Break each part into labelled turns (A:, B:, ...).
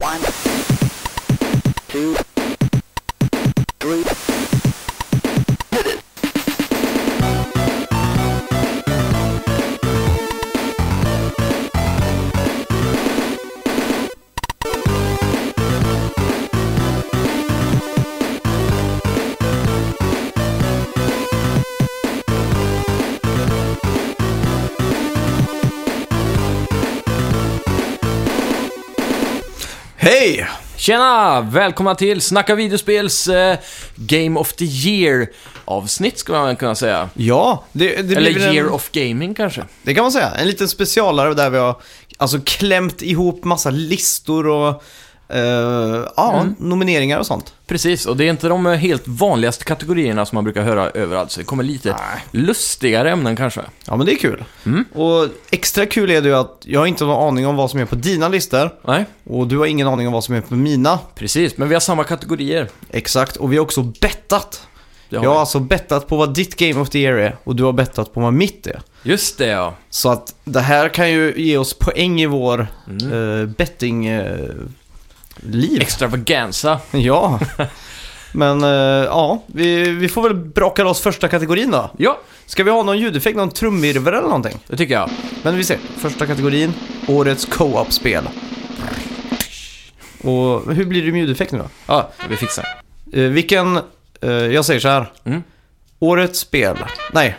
A: One, two, three.
B: Hej!
C: Tjena! Välkomna till Snacka videospels eh, Game of the Year-avsnitt, skulle man väl kunna säga.
B: Ja, det, det blir väl
C: Eller
B: en,
C: Year of Gaming kanske.
B: Det kan man säga. En liten specialare där vi har alltså klämt ihop massa listor och eh, ja,
C: Mm.
B: nomineringar och sånt.
C: Precis, och det är inte de eh, helt vanligaste kategorierna som man brukar höra överallt, så det kommer lite lustigare ämnen kanske.
B: Ja, men det är kul.
C: Mm.
B: Och extra kul är det ju att jag har inte någon aning om vad som är på dina listor
C: Nej,
B: och du har ingen aning om vad som är på mina.
C: precis, men vi har samma kategorier.
B: Exakt, och vi har också bettat.
C: Det har
B: Jag har alltså bettat på vad ditt Game of the Year är och du har bettat på vad mitt är.
C: vi. Just det ja.
B: Så att det här kan ju ge oss poäng i vår
C: Mm.
B: eh, betting eh, liv.
C: Extravaganza.
B: ja. Men eh, ja, vi, vi får väl braka loss första kategorin då.
C: Ja,
B: Ska vi ha någon ljudeffekt, någon trumvirvel eller någonting?
C: det tycker jag.
B: Men vi ser. Första kategorin, årets co-op-spel. Och hur blir det med ljudeffekt nu då?
C: Ja, vi fixar.
B: Eh, vilken, eh, jag säger så här.
C: Mm.
B: Årets spel, nej.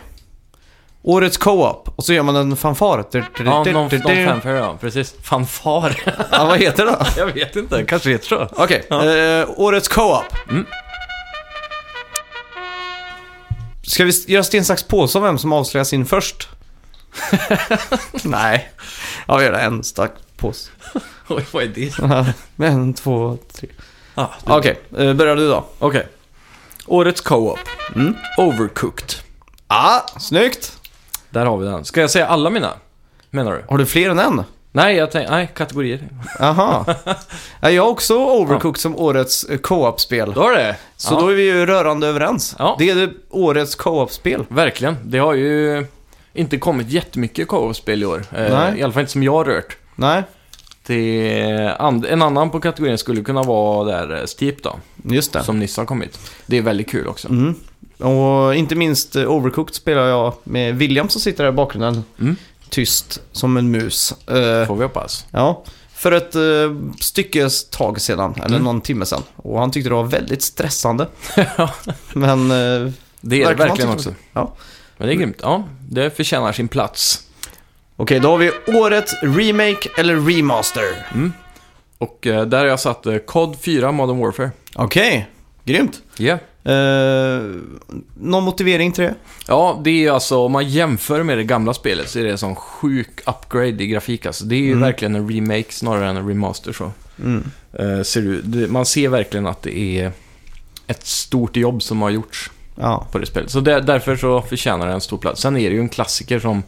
B: Årets co-op och så gör man en fanfar.
C: Ja, någon, någon fanfare ja, precis. Fanfar.
B: Ja, vad heter det då?
C: jag vet inte, kanske heter så.
B: Okej, eh, årets co-op.
C: Mm.
B: Ska vi göra sten, sax, påse om vem som avslöjar sin först? Nej, ja, vi gör det. En stack påse.
C: Oj, vad är det?
B: en, två, tre.
C: Ah, du-
B: Okej, eh, börjar du då.
C: Okej. Årets co-op. Mm. Overcooked.
B: Ja, Ah, snyggt!
C: Där har vi den. Ska jag säga alla mina? Menar du?
B: Har du fler än en?
C: Nej, jag tänkte... Nej, kategorier.
B: Jaha. Ja, jag har också Overcooked som årets eh, co-op-spel.
C: Då har det?
B: Så
C: ja,
B: då är vi ju rörande överens.
C: Ja.
B: Det är det årets co-op-spel.
C: Verkligen. Det har ju inte kommit jättemycket co-op-spel i år. Eh,
B: Nej.
C: I alla fall inte som jag har rört.
B: Nej,
C: Det, and, en annan på kategorin skulle kunna vara där eh, Steep då,
B: just det.
C: som nyss har kommit. Det är väldigt kul också.
B: Mm. Och inte minst eh, Overcooked spelar jag med William som sitter där i bakgrunden.
C: Mm.
B: Tyst som en mus. Eh,
C: Får vi hoppas.
B: ja. För ett uh, styckes tag sedan, eller
C: Mm.
B: någon timme sedan. Och han tyckte det var väldigt stressande. Men eh,
C: Det är det
B: Verkligen,
C: verkligen
B: man
C: också.
B: tycker- ja.
C: Men det är grymt. Ja, det förtjänar sin plats.
B: okej, då har vi årets remake eller remaster.
C: Och eh, där har jag satt eh, COD 4 Modern Warfare.
B: Okej, grymt.
C: Ja.
B: Eh, någon motivering till det?
C: Ja, det är ju alltså, om man jämför med det gamla spelet så är det en sån sjuk upgrade i grafik alltså. Det är
B: Mm.
C: ju verkligen en remake snarare än en remaster så. Eh, ser du, det, man ser verkligen att det är ett stort jobb som har gjorts
B: Ja.
C: på det spelet. Så där, därför så förtjänar det en stor plats. Sen är det ju en klassiker som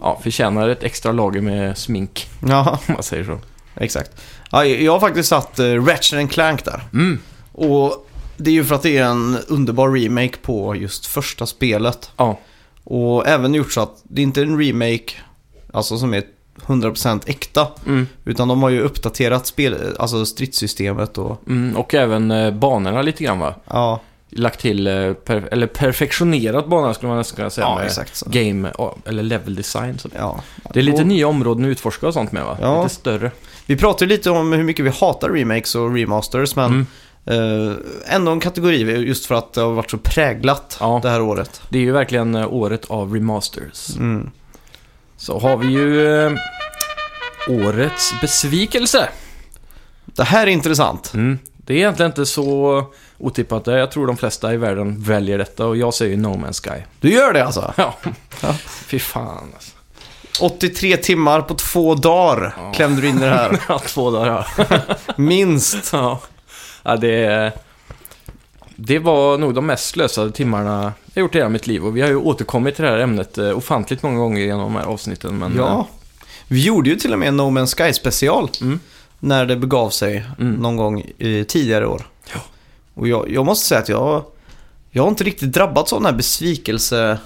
C: ja, förtjänar ett extra lager med smink,
B: ja.
C: om man säger så.
B: Exakt. Ja, jag har faktiskt satt uh, Ratchet and Clank där.
C: Mm.
B: Och det är ju för att det är en underbar remake på just första spelet.
C: Ja,
B: Och även gjort så att det inte är en remake alltså som är 100% äkta.
C: mm.
B: Utan de har ju uppdaterat spel, alltså stridssystemet och
C: Mm, och även eh, banorna lite grann va?
B: ja,
C: Lagt till, eh, per, eller perfektionerat banorna skulle man nästan kunna säga.
B: ja
C: med
B: exakt så.
C: Game, ja, eller level design. Så
B: Ja.
C: Det är lite
B: Och
C: nya områden att utforska och sånt med va?
B: Ja.
C: Lite större.
B: Vi pratade ju lite om hur mycket vi hatar remakes och remasters men
C: Mm.
B: eh, ändå en kategori just för att det har varit så präglat
C: Ja.
B: det här året.
C: Det är ju verkligen eh, året av remasters.
B: Mm.
C: Så har vi ju eh, årets besvikelse. Mm.
B: Det här är intressant.
C: Det är egentligen inte så otippat. Jag tror de flesta i världen väljer detta och jag säger ju No Man's Sky.
B: Du gör det alltså?
C: Ja.
B: Ja.
C: Fy fan alltså.
B: 83 timmar på två dagar
C: Ja.
B: klämde du in i det här.
C: Ja, Två dagar ja.
B: Minst.
C: ja. ja det, det var nog de mest slösade timmarna jag gjort i hela mitt liv. Och vi har ju återkommit till det här ämnet eh, ofantligt många gånger genom de här avsnitten. Men, eh,
B: Ja. Vi gjorde ju till och med en No Man's Sky special
C: Mm.
B: när det begav sig
C: Mm.
B: någon gång i tidigare år.
C: Ja.
B: Och jag, jag måste säga att jag, jag har inte riktigt drabbats av den här besvikelse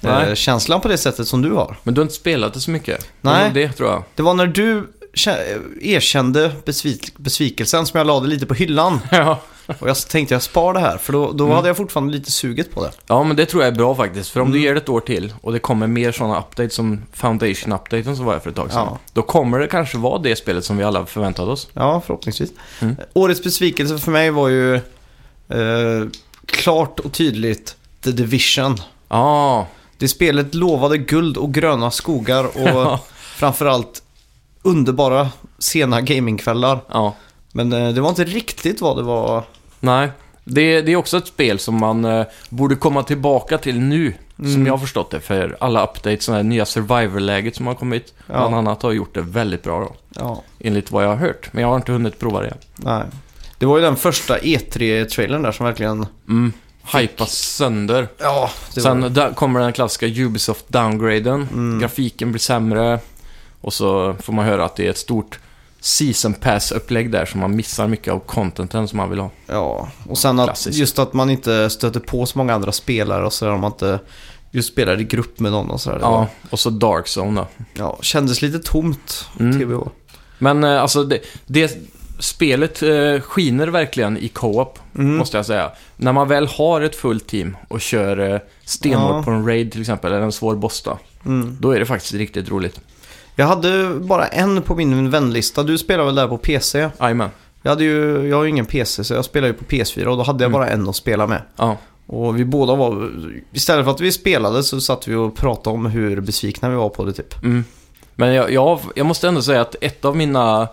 C: Nej.
B: eh, känslan på det sättet som du har.
C: Men du har inte spelat det så mycket?
B: Nej.
C: Det tror jag.
B: Det var när du kä- eh, erkände besvik- besvikelsen som jag lade lite på hyllan.
C: Ja.
B: Och jag tänkte jag spar det här, för då, då
C: Mm.
B: hade jag fortfarande lite suget på det.
C: ja, men det tror jag är bra faktiskt. För om
B: Mm.
C: du ger det ett år till och det kommer mer sådana updates som Foundation-updaten som var här för ett tag sedan.
B: Ja.
C: Då kommer det kanske vara det spelet som vi alla förväntade oss.
B: Ja, förhoppningsvis.
C: Mm.
B: Årets besvikelse för mig var ju eh, klart och tydligt The Division.
C: Ja,
B: Det spelet lovade guld och gröna skogar och
C: ja.
B: framförallt underbara sena gamingkvällar. Men eh, det var inte riktigt vad det var.
C: Nej. Det, det är också ett spel som man eh, borde komma tillbaka till nu.
B: Mm.
C: Som jag har förstått det. För alla updates, det här nya survivor-läget som har kommit.
B: Ja.
C: Bland annat har gjort det väldigt bra då.
B: Ja,
C: Enligt vad jag har hört. Men jag har inte hunnit prova det.
B: nej. Det var ju den första E3-trailern där som verkligen...
C: Mm. Hypa sönder.
B: Ja, det
C: Sen
B: var...
C: där kommer den klassiska Ubisoft-downgraden.
B: Mm.
C: Grafiken blir sämre. Och så får man höra att det är ett stort season pass-upplägg där. Så man missar mycket av contenten som man vill ha.
B: Ja, och sen att
C: Klassiskt.
B: just att man inte stöter på så många andra spelare och sådär om man inte just spelar i grupp med någon och sådär. Det
C: Ja,
B: var-
C: och så Dark Zone då.
B: ja, kändes lite tomt,
C: Mm.
B: TBH.
C: Men eh, alltså, det, det spelet eh, skiner verkligen i co-op,
B: Mm.
C: måste jag säga. När man väl har ett fullt team och kör eh, stenhårt
B: Ja.
C: på en raid till exempel, eller en svår boss då,
B: Mm.
C: då är det faktiskt riktigt roligt.
B: Jag hade bara en på min vänlista. Du spelar väl där på PC?
C: Jajamän.
B: Jag, hade ju, jag har ju ingen PC så jag spelar ju på PS4 och då hade jag
C: Mm.
B: bara en att spela med.
C: Ja.
B: Och vi båda var, istället för att vi spelade så satt vi och pratade om hur besvikna vi var på det typ.
C: Mm. Men jag, jag, jag måste ändå säga att ett av mina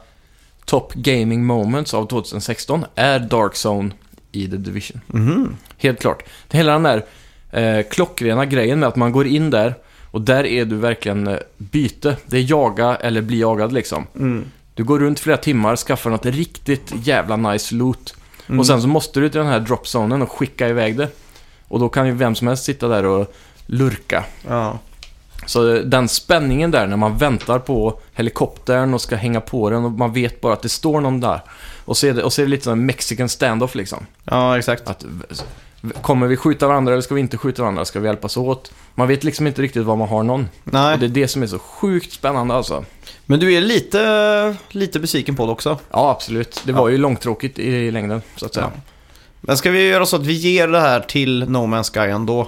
C: top gaming moments av 2016 är Dark Zone i The Division.
B: Mhm.
C: Helt klart. Det hela den där eh, klockrena grejen med att man går in där och där är du verkligen eh, byte. Det är jaga eller bli jagad liksom.
B: Mm.
C: Du går runt flera timmar, skaffar något riktigt jävla nice loot.
B: Mm.
C: Och sen så måste du till den här dropzonen och skicka iväg det. Och då kan ju vem som helst sitta där och lurka.
B: Ja.
C: Så den spänningen där när man väntar på helikoptern och ska hänga på den och man vet bara att det står någon där. Och så är det, och så är det lite som en mexican standoff liksom.
B: ja, exakt.
C: Att, v- kommer vi skjuta varandra eller ska vi inte skjuta varandra? Ska vi hjälpas åt? Man vet liksom inte riktigt var man har någon. Och det
B: Nej.
C: är det som är så sjukt spännande alltså.
B: Men du är lite, lite besviken på det också.
C: Ja, absolut. Det var ju långtråkigt i längden, så att säga. Ja.
B: Men ska vi göra så att vi ger det här till No Man's Sky ändå?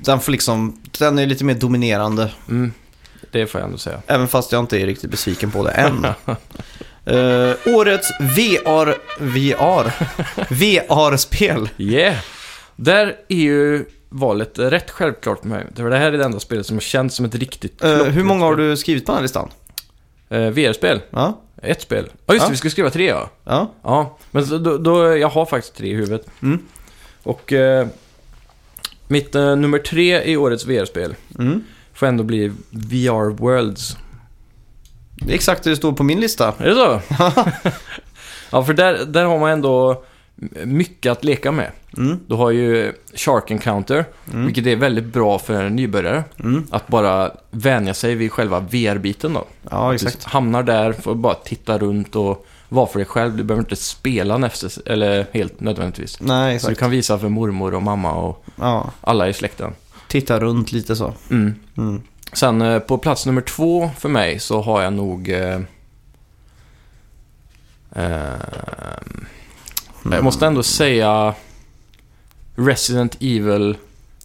B: Den får liksom, den är lite mer dominerande.
C: mm. Det får jag ändå säga.
B: Även fast jag inte är riktigt besviken på det än. Eh, årets VR... VR? VR-spel.
C: Yeah! Där är ju valet rätt självklart för mig. För det här är det enda spelet som känns som ett riktigt
B: Eh, hur många har du skrivit på den här listan?
C: Eh, VR-spel.
B: Ja.
C: Ett spel. Ja, just det.
B: Ja.
C: Vi skulle skriva tre, ja.
B: ja.
C: Ja, men så då, då, jag har faktiskt tre i huvudet.
B: Mm.
C: Och eh, mitt eh, nummer tre i årets VR-spel
B: Mm.
C: får ändå bli VR Worlds.
B: Det är exakt det det står på min lista.
C: Är det så? ja, för där, där har man ändå mycket att leka med.
B: Mm.
C: Du har ju Shark Encounter,
B: Mm.
C: vilket är väldigt bra för en nybörjare.
B: Mm.
C: Att bara vänja sig vid själva VR-biten då.
B: Ja,
C: Du
B: exakt.
C: hamnar där, får bara titta runt och vara för dig själv. Du behöver inte spela nästa, eller helt nödvändigtvis.
B: Nej,
C: Så du
B: exakt.
C: kan visa för mormor och mamma och
B: Ja.
C: alla i släkten.
B: Titta runt lite så.
C: Mm.
B: Mm.
C: Sen eh, på plats nummer två för mig så har jag nog... Eh, eh, Jag måste ändå säga Resident Evil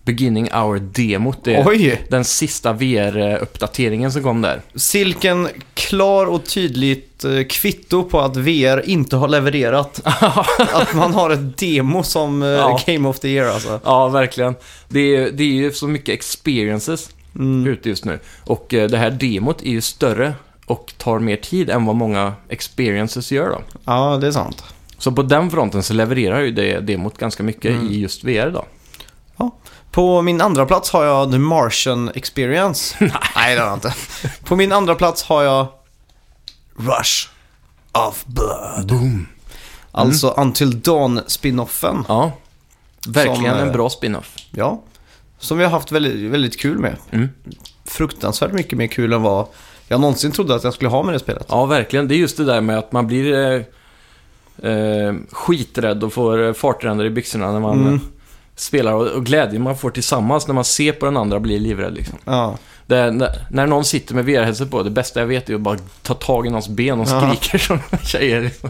C: Beginning Hour-demot. Det är
B: Oj!
C: den sista VR-uppdateringen som kom där.
B: Silken klar och tydligt eh, kvitto på att VR inte har levererat. att man har ett demo som eh,
C: Ja.
B: Game of the Year alltså.
C: Ja, verkligen. Det är, det är ju så mycket experiences
B: Mm.
C: ute just nu. Och eh, det här demot är ju större och tar mer tid än vad många experiences gör då.
B: Ja, det är sant.
C: Så på den fronten så levererar ju det demot ganska mycket
B: Mm.
C: i just VR då.
B: På min andra plats har jag The Martian Experience. Nej, det har jag inte. På min andra plats har jag Rush of Blood.
C: Boom. Mm.
B: Alltså Until Dawn-spinoffen.
C: Ja. Verkligen
B: Som, eh,
C: en bra spin-off.
B: Ja. Som vi har haft väldigt, väldigt kul med.
C: Mm.
B: Fruktansvärt mycket mer kul än vad jag någonsin trodde att jag skulle ha med det spelet.
C: Ja, verkligen. Det är just det där med att man blir eh, eh, skiträdd och får eh, fartränder i byxorna när man
B: Mm.
C: eh, spelar. Och, och glädjen man får tillsammans när man ser på den andra blir livrädd liksom.
B: Ja.
C: Där, när- när någon sitter med VR-headset på, det bästa jag vet är att bara ta tag i någons ben och
B: Ja.
C: skriker som tjejer. liksom.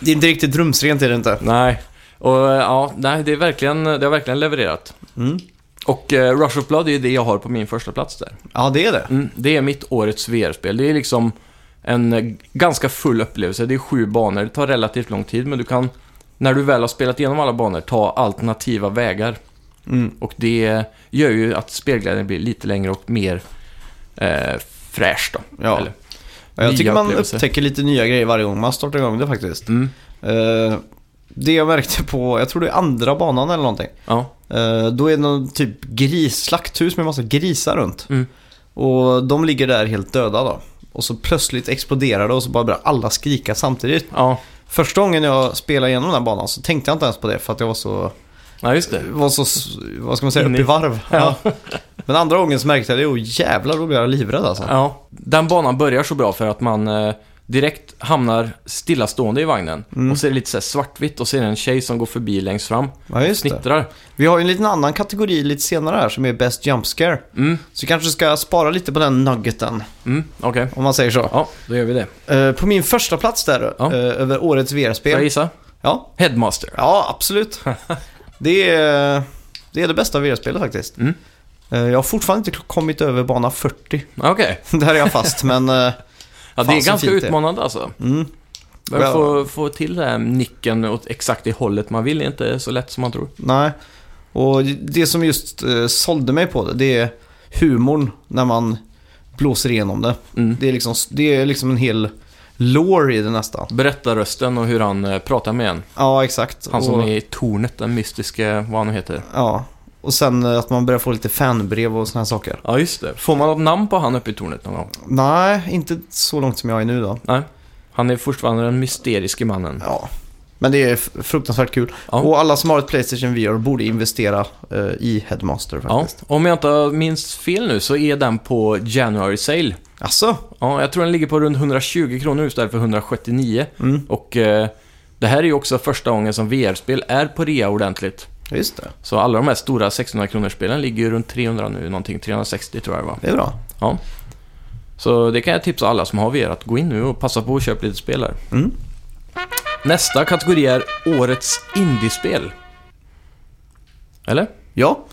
B: Det är inte riktigt rumsrent är det inte.
C: Nej, och eh, ja, nej, det, är verkligen, det har verkligen levererat.
B: Mm.
C: Och eh, Rush of Blood är ju det jag har på min första plats där.
B: Ja, det är det.
C: Mm, det är mitt årets VR-spel. Det är liksom en eh, ganska full upplevelse. Det är sju banor. Det tar relativt lång tid, men du kan, när du väl har spelat igenom alla banor, ta alternativa vägar.
B: Mm.
C: Och det gör ju att spelglädjen blir lite längre och mer eh, fräsch då.
B: Ja.
C: Eller,
B: Ja, Jag
C: Mm. Nya
B: tycker man
C: upplevelser.
B: upptäcker lite nya grejer varje gång man startar igång det faktiskt.
C: mm,
B: Eh, det jag märkte på, jag tror det är andra banan eller någonting.
C: ja.
B: Eh, då är det någon typ gris, slakthus med massa grisar runt.
C: Mm.
B: Och de ligger där helt döda då. Och så plötsligt exploderar det och så bara börjar alla skrika samtidigt.
C: Ja,
B: Första gången jag spelade igenom den här banan så tänkte jag inte ens på det för att jag var så,
C: ja just det.
B: var så s- vad ska man säga,
C: Inne
B: uppe
C: i-
B: i varv.
C: Ja.
B: Ja. Men andra gången så märkte jag det och jävlar då blev jag livrädd alltså.
C: Ja. Den banan börjar så bra för att man eh, direkt hamnar stillastående i vagnen. Och så är det lite så här svartvitt och så är det en tjej som går förbi längst fram.
B: Ja, Mm. just det.
C: Snittrar.
B: Vi har ju en liten annan kategori lite senare här som är Best Jump Scare.
C: Mm,
B: Så vi kanske ska spara lite på den nuggeten,
C: mm, okej.
B: om man säger så.
C: Ja, då gör vi det.
B: Eh, på min första plats där,
C: Ja.
B: eh, över årets
C: Får jag
B: VR-spel.
C: gissa?
B: Ja,
C: Headmaster.
B: ja absolut. det, är, det är det bästa VR-spelet faktiskt.
C: Mm.
B: Eh, jag har fortfarande inte kommit över bana 40.
C: Okej.
B: där är jag fast, men eh,
C: Ja, det
B: Fan,
C: är
B: så
C: ganska
B: fint det.
C: utmanande alltså.
B: mm,
C: Men
B: Ja.
C: få, få till den här nicken åt exakt det hållet man vill är inte så lätt som man tror.
B: nej. Och det som just eh, sålde mig på det, det är humorn när man blåser igenom det.
C: Mm.
B: Det är liksom, det är liksom en hel lore i det nästan.
C: Berättarrösten och hur han eh, pratar med en.
B: Ja, exakt.
C: Han som
B: och,
C: är i tornet, den mystiska, vad han nu heter.
B: Ja. Och sen eh, att man börjar få lite fanbrev och såna här saker.
C: Ja, just det. Får man något namn på han uppe i tornet någon gång?
B: Nej, inte så långt som jag är nu då.
C: Nej. Han är fortfarande den mysteriske mannen.
B: Ja. Men det är f- fruktansvärt kul.
C: Ja.
B: Och alla som har ett Playstation VR borde investera eh, i Headmaster
C: Ja,
B: faktiskt.
C: om jag inte minns fel nu så är den på January Sale.
B: Ja. Alltså,
C: Ja, jag tror den ligger på runt 120 kronor istället för 179.
B: Mm.
C: Och eh, det här är ju också första gången som VR-spel är på rea ordentligt.
B: just det.
C: Så alla de här stora 600 kronors spelen ligger ju runt 300 nu, någonting 360 tror jag det var.
B: Det är bra.
C: Ja. Så det kan jag tipsa alla som har VR att gå in nu och passa på att köpa lite spel här.
B: Mm.
C: Nästa kategori är Årets Indiespel. Eller?
B: Ja.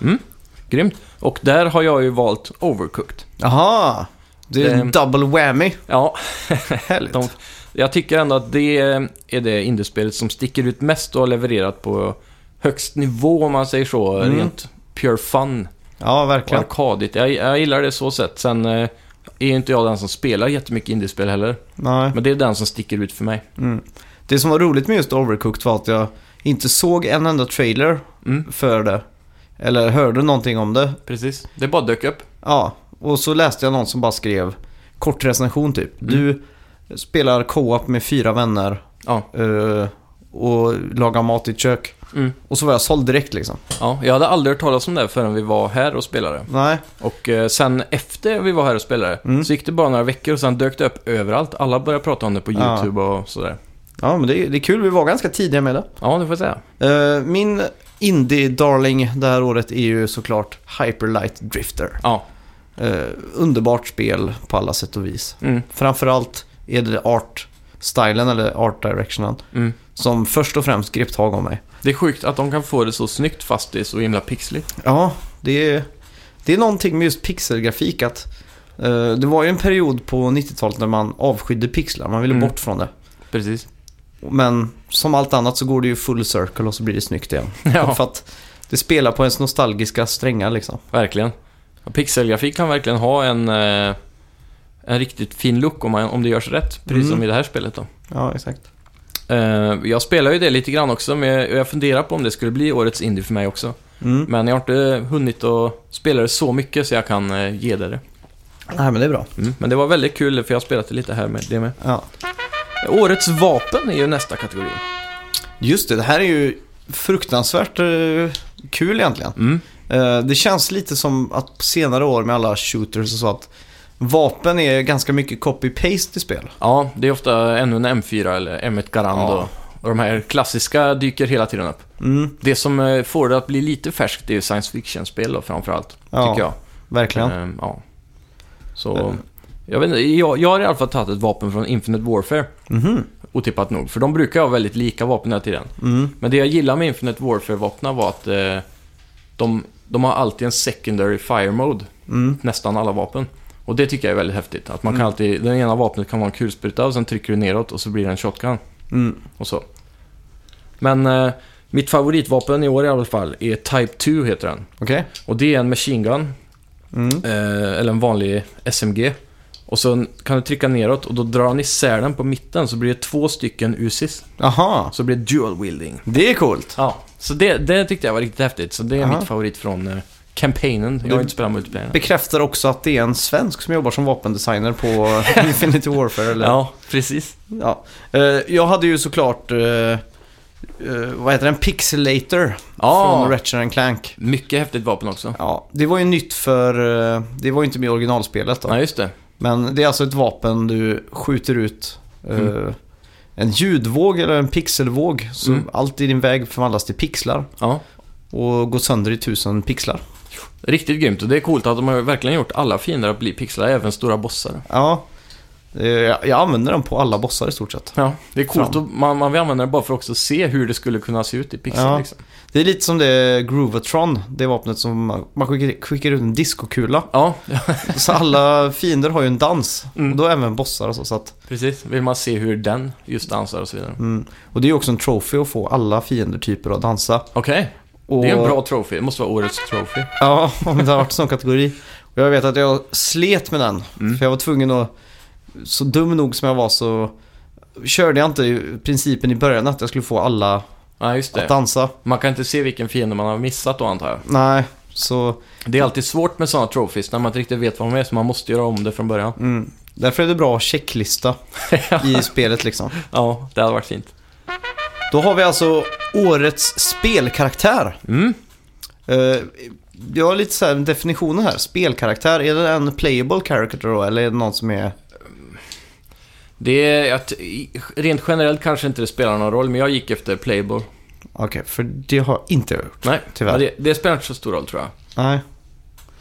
C: Grymt. Och där har jag ju valt Overcooked.
B: Aha. Det är en
C: Det-
B: double whammy.
C: Ja,
B: Härligt.
C: de, jag tycker ändå att det är det indiespelet som sticker ut mest och har levererat på högst nivå om man säger så.
B: Mm.
C: Rent pure fun
B: Ja,
C: och
B: verkligen.
C: arkadigt. Jag, jag gillar det så sett. Sen eh, är ju inte jag den som spelar jättemycket indiespel heller.
B: Nej.
C: Men det är den som sticker ut för mig.
B: Mm. Det som var roligt med just Overcooked var att jag inte såg en enda trailer
C: Mm.
B: för det. Eller hörde någonting om det.
C: Precis. Det bara dök upp.
B: Ja, och så läste jag någon som bara skrev kort recension typ.
C: Mm.
B: Du spelar co-op med fyra vänner
C: Ja.
B: eh, och lagar mat i ett kök.
C: Mm.
B: Och så var jag såld direkt liksom.
C: ja. Jag hade aldrig hört talas om det förrän vi var här och spelade.
B: Nej,
C: Och eh, sen efter vi var här och spelade
B: Mm.
C: så gick det bara några veckor och sen dök det upp överallt. Alla började prata om det på
B: Ja.
C: YouTube och sådär.
B: ja men det är, det är kul. Vi var ganska tidiga med det.
C: Ja, det får jag säga.
B: Eh, min indie-darling det här året är ju såklart Hyperlight Drifter.
C: Ja.
B: Eh, underbart spel på alla sätt och vis.
C: Mm.
B: Framförallt är det art-stylen eller art-directionen
C: Mm.
B: som först och främst grep tag om mig.
C: Det är sjukt att de kan få det så snyggt fast det är så himla pixligt.
B: Ja, det är, det är någonting med just pixelgrafik att eh, det var ju en period på 90-talet när man avskydde pixlar, man ville
C: Mm.
B: bort från det.
C: Precis.
B: Men som allt annat så går det ju full circle och så blir det snyggt igen.
C: Ja,
B: För att det spelar på ens nostalgiska strängar liksom.
C: verkligen. Ja, Pixelgrafik kan verkligen ha en, eh, en riktigt fin look om, man, om det görs rätt. Precis
B: Mm.
C: som i det här spelet då.
B: Ja, exakt.
C: Eh, jag spelar ju det lite grann också, men jag jag funderar på om det skulle bli årets indie för mig också.
B: Mm.
C: Men jag har inte hunnit att spela det så mycket så jag kan eh, ge det det.
B: Nej, men det är bra.
C: Mm. Men det var väldigt kul för jag har spelat det lite här med det med.
B: Ja.
C: Årets vapen är ju nästa kategori.
B: Just det, det här är ju fruktansvärt eh, kul egentligen.
C: Mm.
B: Eh, det känns lite som att på senare år med alla shooters och så att vapen är ganska mycket copy-paste i spel.
C: Ja, det är ofta ännu en M4 eller M1 Garand
B: Ja.
C: och, och de här klassiska dyker hela tiden upp.
B: Mm.
C: Det som eh, får det att bli lite färskt är ju science fiction-spel då framförallt,
B: Ja.
C: tycker jag.
B: Verkligen.
C: Ehm, ja. Så,
B: Eh.
C: jag, vet inte, jag, jag har i alla fall tagit ett vapen från Infinite Warfare,
B: Mhm.
C: otippat nog. För de brukar ha väldigt lika vapen hela tiden.
B: Mm.
C: Men det jag gillar med Infinite Warfare-vapnen var att eh, de, de har alltid en secondary fire mode.
B: Mm.
C: Nästan alla vapen. Och det tycker jag är väldigt häftigt. Att man kan alltid, den ena vapnet kan vara en kulspruta och sen trycker du neråt och så blir det en shotgun.
B: Mm.
C: Och så. Men eh, mitt favoritvapen i år i alla fall är Type 2 heter den.
B: Okej.
C: Och det är en machine gun,
B: Mm.
C: eh, eller en vanlig SMG. Och så kan du trycka neråt och då drar han isär den på mitten så blir det två stycken Uzis.
B: Aha.
C: Så blir det dual wielding.
B: Det är coolt.
C: Ja, så det, det tyckte jag var riktigt häftigt. Så det är
B: Aha.
C: mitt favorit från eh, campaignen. Jag har
B: Du-
C: inte spelat multiplayern.
B: Bekräftar också att det är en svensk som jobbar som vapendesigner på Infinity Warfare. Eller?
C: Ja, precis.
B: Ja. Eh, jag hade ju såklart, eh, eh, vad heter den, Pixelator
C: Ja.
B: från Ratchet and Clank.
C: Mycket häftigt vapen också.
B: Ja, det var ju nytt för, eh, det var ju inte med i originalspelet då.
C: Ja, just det.
B: Men det är alltså ett vapen du skjuter ut eh,
C: Mm.
B: en ljudvåg eller en pixelvåg. Så
C: Mm.
B: allt i din väg förvandlas till pixlar
C: Ja.
B: och går sönder i tusen pixlar.
C: Riktigt grymt och det är coolt att de har verkligen gjort alla fiender att bli pixlar, även stora bossar.
B: Ja, eh, jag jag använder den på alla bossar i stort sett.
C: Ja, det är coolt
B: Fram.
C: och man, man vill använda det bara för också att se hur det skulle kunna se ut i pixlar
B: Ja.
C: liksom.
B: Det är lite som det Groovatron, det vapnet som man, man skickar, skickar ut en diskokula.
C: Ja,
B: Så alla fiender har ju en dans.
C: Mm.
B: Och då även bossar och så. så att,
C: precis. Vill man se hur den just dansar och så vidare.
B: mm. Och det är ju också en trophy att få alla fiendetyper att dansa.
C: Okej,
B: Och,
C: det är en bra trophy. Det måste vara årets trophy.
B: Ja, om det har varit en sån kategori. Och jag vet att jag slet med den.
C: Mm.
B: För jag var tvungen att, så dum nog som jag var så körde jag inte i principen i början att jag skulle få alla
C: Ja, just
B: att
C: det.
B: dansa.
C: Man kan inte se vilken fiende man har missat då antar jag.
B: Nej, så
C: Det är alltid svårt med sådana trophies när man inte riktigt vet vad de är, så man måste göra om det från början.
B: mm. därför är det bra att checklista i spelet liksom.
C: Ja, det hade varit fint.
B: Då har vi alltså årets spelkaraktär.
C: Mm.
B: Eh, jag har lite så här definitionen här. Spelkaraktär, är det en playable character då? Eller är det någon som är...
C: Det är att, rent generellt kanske inte det spelar någon roll, men jag gick efter playable.
B: Okej, för det har inte jag gjort.
C: Nej,
B: Tyvärr.
C: Ja, det, det spelar inte så stor roll tror jag.
B: Nej.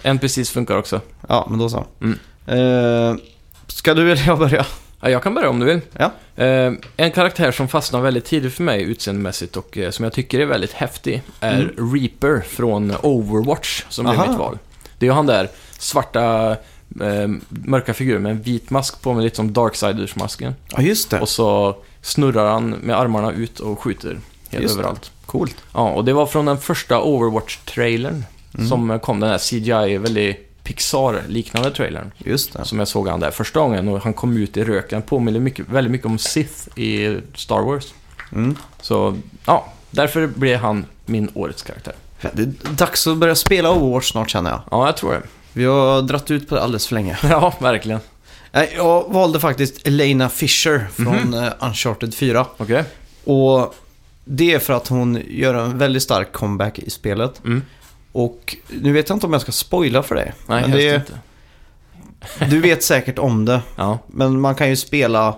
C: NPCs funkar också.
B: Ja, men då så.
C: Mm.
B: Eh, ska du eller jag börja?
C: Ja, jag kan börja om du vill.
B: Ja.
C: Eh, en karaktär som fastnar väldigt tidigt för mig utseendemässigt och eh, som jag tycker är väldigt häftig är Reaper från Overwatch, som
B: Mm. Aha.
C: blev mitt val. Det är ju han där svarta, eh, mörka figuren med en vit mask på mig, lite som Darksiders-masken.
B: Ja, just det.
C: Och så snurrar han med armarna ut och skjuter helt
B: Just det.
C: överallt.
B: Coolt.
C: Ja, och det var från den första Overwatch-trailern
B: Mm.
C: som kom, den här CGI, väldigt Pixar-liknande trailern.
B: Just det.
C: Som jag såg han där första gången och han kom ut i röken. Påminner mycket, väldigt mycket om Sith i Star Wars.
B: Mm.
C: Så, ja, därför blev han min årets karaktär.
B: Fan, Det är dags att börja spela Overwatch snart känner jag.
C: Ja, jag tror det.
B: Vi har dratt ut på det alldeles för länge.
C: Ja, verkligen.
B: Nej, jag valde faktiskt Elena Fisher från eh, Uncharted 4.
C: Okej.
B: Och det är för att hon gör en väldigt stark comeback i spelet.
C: Mm.
B: Och nu vet jag inte om jag ska spoila för dig.
C: Nej,
B: men
C: helst
B: det,
C: inte.
B: du vet säkert om det.
C: Ja,
B: Men man kan ju spela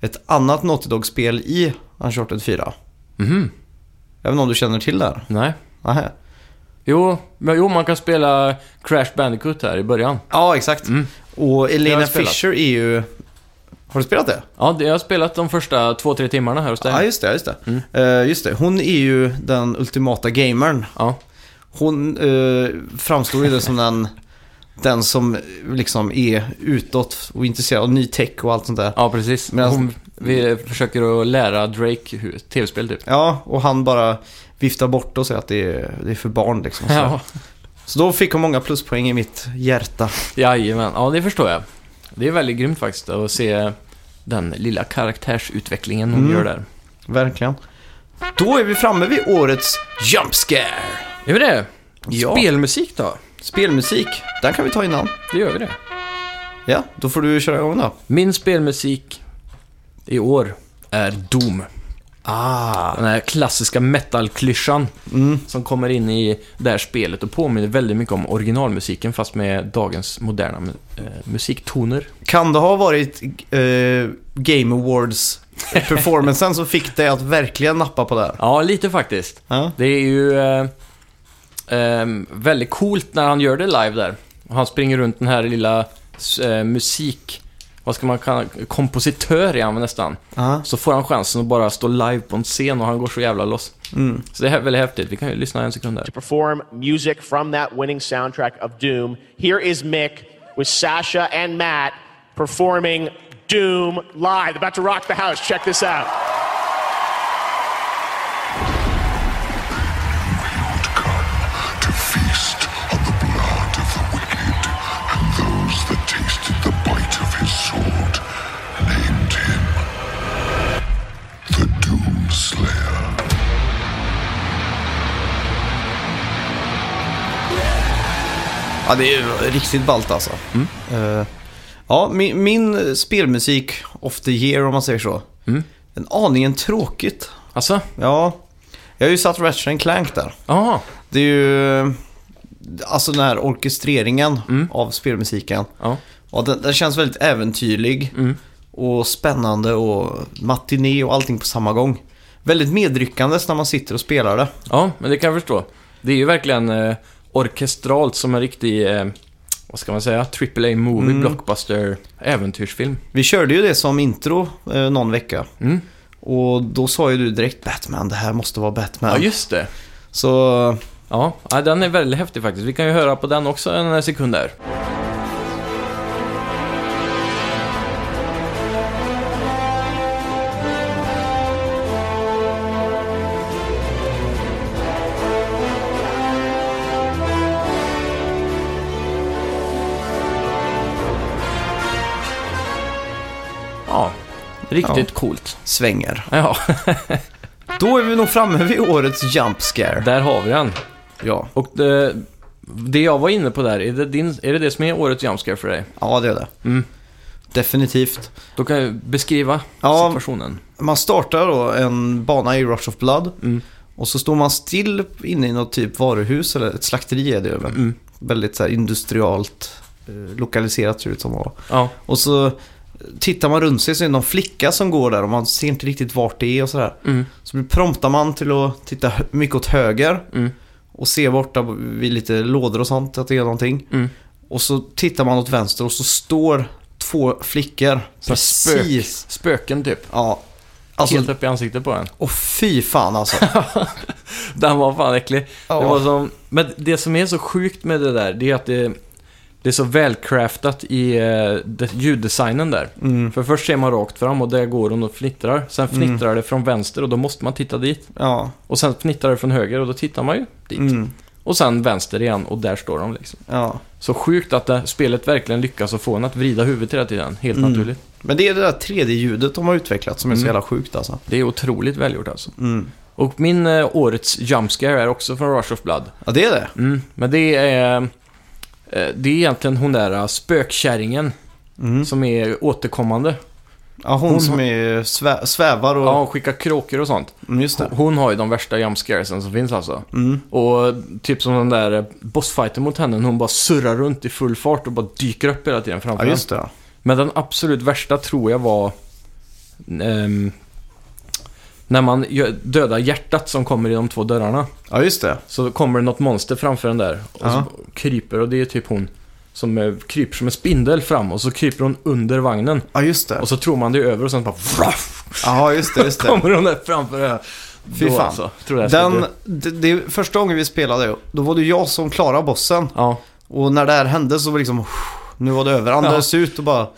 B: ett annat Naughty Dog-spel i Uncharted 4.
C: mhm.
B: Jag vet inte om du känner till det här?
C: Nej.
B: Nähä.
C: Jo, men, jo, man kan spela Crash Bandicoot här i början.
B: Ja, exakt.
C: Mm.
B: Och
C: Jag
B: Elena
C: har spelat.
B: Fisher är ju... Har du spelat det?
C: Ja, det, jag har spelat de första två, tre timmarna här hos dig.
B: Ja, just det. Just det.
C: Mm.
B: Eh, just det. Hon är ju den ultimata gamern.
C: Ja.
B: Hon eh, framstår ju det som den, den som liksom är utåt och intresserad av ny tech och allt sånt där.
C: Ja, precis.
B: Men alltså-
C: Hon, vi försöker att lära Drake hur tv-spel typ.
B: Ja, och han bara viftar bort och säger att det är, det är för barn liksom. Så.
C: Ja,
B: så då fick hon många pluspoäng i mitt hjärta.
C: jajamän. Ja, det förstår jag. Det är väldigt grymt faktiskt att se den lilla karaktärsutvecklingen hon
B: Mm.
C: gör där.
B: Verkligen. Då är vi framme vid årets Jump Scare.
C: Är vi det?
B: Ja.
C: Spelmusik då?
B: Spelmusik, den kan vi ta innan.
C: Det gör vi det.
B: Ja, då får du köra igång då.
C: Min spelmusik i år är Doom.
B: Ah.
C: Den här klassiska metal-klyschan
B: Mm.
C: som kommer in i det här spelet och påminner väldigt mycket om originalmusiken fast med dagens moderna eh, musiktoner.
B: Kan det ha varit eh, Game Awards-performancen som fick dig att verkligen nappa på det här?
C: Ja, lite faktiskt.
B: Ja.
C: Det är ju eh, eh, väldigt coolt när han gör det live där. Och han springer runt den här lilla eh, musik... Vad ska man kalla Kompositör är han väl nästan.
B: Ja.
C: Så får han chansen att bara stå live på en scen och han går så jävla loss. Så det är väldigt häftigt. Vi kan ju lyssna en sekund där.
D: to perform music from that winning soundtrack of Doom. Here is Mick with Sasha and Matt performing Doom live. About to rock the house. Check this out.
E: come to feast on the blood of the wicked, and those that tasted the bite of his sword named him the Doomslayer.
B: Ja, det är ju riktigt ballt alltså. Eh, ja, min, min spelmusik of the year om man säger så. En aningen tråkigt.
C: Alltså?
B: Ja, jag har ju satt Ratchet and Clank där.
C: Ja.
B: Det är ju eh, alltså den här orkestreringen av spelmusiken.
C: Ja.
B: Ja, den, den känns väldigt äventyrlig och spännande och matiné och allting på samma gång. Väldigt medryckandes när man sitter och spelar det.
C: Ja, men det kan jag förstå. Det är ju verkligen eh, orkestralt som en riktig, eh, vad ska man säga, AAA-movie, blockbuster, äventyrsfilm.
B: Vi körde ju det som intro eh, någon vecka.
C: Mm.
B: Och då sa ju du direkt Batman, det här måste vara Batman.
C: Ja, just det.
B: Så
C: Ja, ja, den är väldigt häftig faktiskt. Vi kan ju höra på den också en sekund där. Ja, Riktigt coolt.
B: svänger.
C: Ja,
B: Då är vi nog framme vid årets jump scare.
C: där har vi den.
B: Ja,
C: Och det, det jag var inne på där, är det, din, är det det som är årets JumpScare för dig?
B: ja det är det.
C: Mm.
B: Definitivt.
C: Då kan jag beskriva
B: Ja.
C: situationen.
B: Man startar då en bana i Rush of Blood.
C: Mm.
B: Och så står man still inne i något typ varuhus eller ett slakteri är det ju. men
C: Mm.
B: Väldigt så här industrialt eh, lokaliserat ser det ut som. att vara.
C: Ja,
B: Och så tittar man runt sig så är det någon flicka som går där och man ser inte riktigt vart det är och sådär.
C: Mm.
B: Så blir- promptar man till att titta hö- mycket åt höger
C: Mm.
B: och se borta vid lite lådor och sånt att det är någonting.
C: Mm.
B: Och så tittar man åt vänster och så står två flickor
C: så spök, spöken typ.
B: Ja. Alltså,
C: Helt upp i ansiktet på en.
B: och fy fan alltså.
C: Den var fan äcklig.
B: Ja.
C: Det var som, men det som är så sjukt med det där, det är att det, det är så välcraftat i eh, det, ljuddesignen där.
B: Mm.
C: För först ser man rakt fram och där går hon och fnittrar. Sen fnittrar det från vänster och då måste man titta dit.
B: Ja,
C: Och sen fnittrar det från höger och då tittar man ju dit.
B: Mm.
C: Och sen vänster igen och där står de liksom.
B: ja.
C: Så sjukt att det, spelet verkligen lyckas att få en att vrida huvudet hela tiden. Helt
B: Mm.
C: naturligt.
B: Men det är det där 3D-ljudet de har utvecklat som är
C: Mm.
B: så jävla sjukt alltså.
C: Det är otroligt välgjort alltså.
B: Mm.
C: Och min eh, årets jumpscare är också från Rush of Blood.
B: Ja, det är det.
C: Mm. Men det är... eh, Det är egentligen hon där eh, spökkärringen
B: Mm.
C: som är återkommande.
B: Ja, hon,
C: Hon
B: som är svä- svävar och...
C: Ja, hon skickar kråkor och sånt.
B: Mm, Just det.
C: Hon har ju de värsta jumpscaresen som finns alltså.
B: Mm.
C: Och typ som den där eh, bossfighten mot henne, hon bara surrar runt i full fart och bara dyker upp hela tiden framför
B: Ja, just
C: en.
B: det. ja.
C: Men den absolut värsta tror jag var ehm, när man gör- dödar hjärtat som kommer i de två dörrarna.
B: Ja, just det.
C: Så kommer det något monster framför den där och
B: Ja.
C: så kryper och det är typ hon som eh, kryper som en spindel fram och så kryper hon under vagnen.
B: Ja, just det.
C: Och så tror man det är över och sen bara vraff,
B: Ja, just det. Just det.
C: kommer hon där framför det här.
B: Fy
C: Då
B: fan.
C: alltså, tror jag skulle
B: Den, det,
C: dö.
B: det, första gången vi spelade, då var det jag som klarade bossen.
C: Ja,
B: Och när det här hände så var det liksom, nu var det över. Andades ut och bara,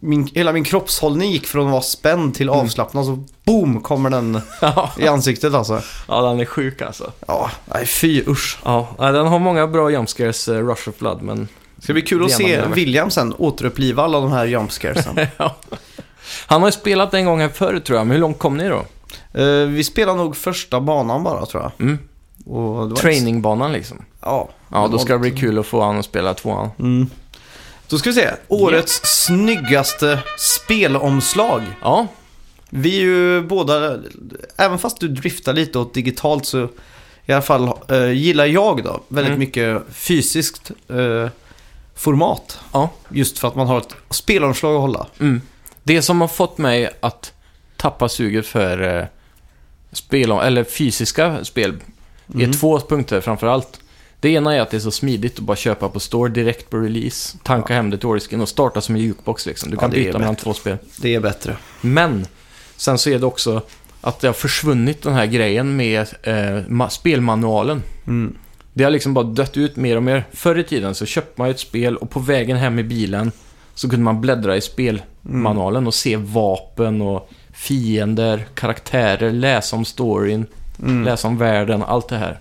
B: min, hela min kroppshållning gick från att vara spänd till avslappnad. Så boom kommer den
C: Ja.
B: i ansiktet alltså.
C: ja, den är sjuk alltså.
B: Ja, nej fy usch.
C: Ja, nej, den har många bra jumpscares, eh, Rush of Blood, men
B: Det ska bli kul att
C: Det är man
B: se
C: över.
B: William sen återuppliva alla de här jumpscaresen.
C: ja. Han har ju spelat en gång här förr tror jag, men hur långt kom ni då?
B: Eh, vi spelade nog första banan bara tror jag.
C: Mm.
B: Och det var-
C: Trainingbanan liksom.
B: Ja.
C: Ja, då
B: var-
C: ska det bli kul att få han att spela tvåan.
B: Mm. Då ska vi se. Årets snyggaste spelomslag.
C: Ja,
B: Vi är ju båda, även fast du driftar lite åt digitalt så i alla fall eh, gillar jag då väldigt mycket fysiskt eh, format.
C: ja.
B: Just för att man har ett spelomslag att hålla.
C: Det som har fått mig att tappa suget för
B: Mm.
C: eh, spel, eller fysiska spel, är två punkter framför allt. Det ena är att det är så smidigt att bara köpa på store direkt på release, tanka hem det till ordisken och starta som en jukebox liksom. Du kan
B: det är
C: byta mellan
B: bättre.
C: två spel.
B: Det är bättre.
C: Men sen så är det också att det har försvunnit den här grejen med eh, ma- spelmanualen. Det har liksom bara dött ut mer och mer. Förr i tiden så köpte man ju ett spel och på vägen hem i bilen så kunde man bläddra i spelmanualen och se vapen och fiender, karaktärer, läsa om storyn, läsa om världen, allt det här.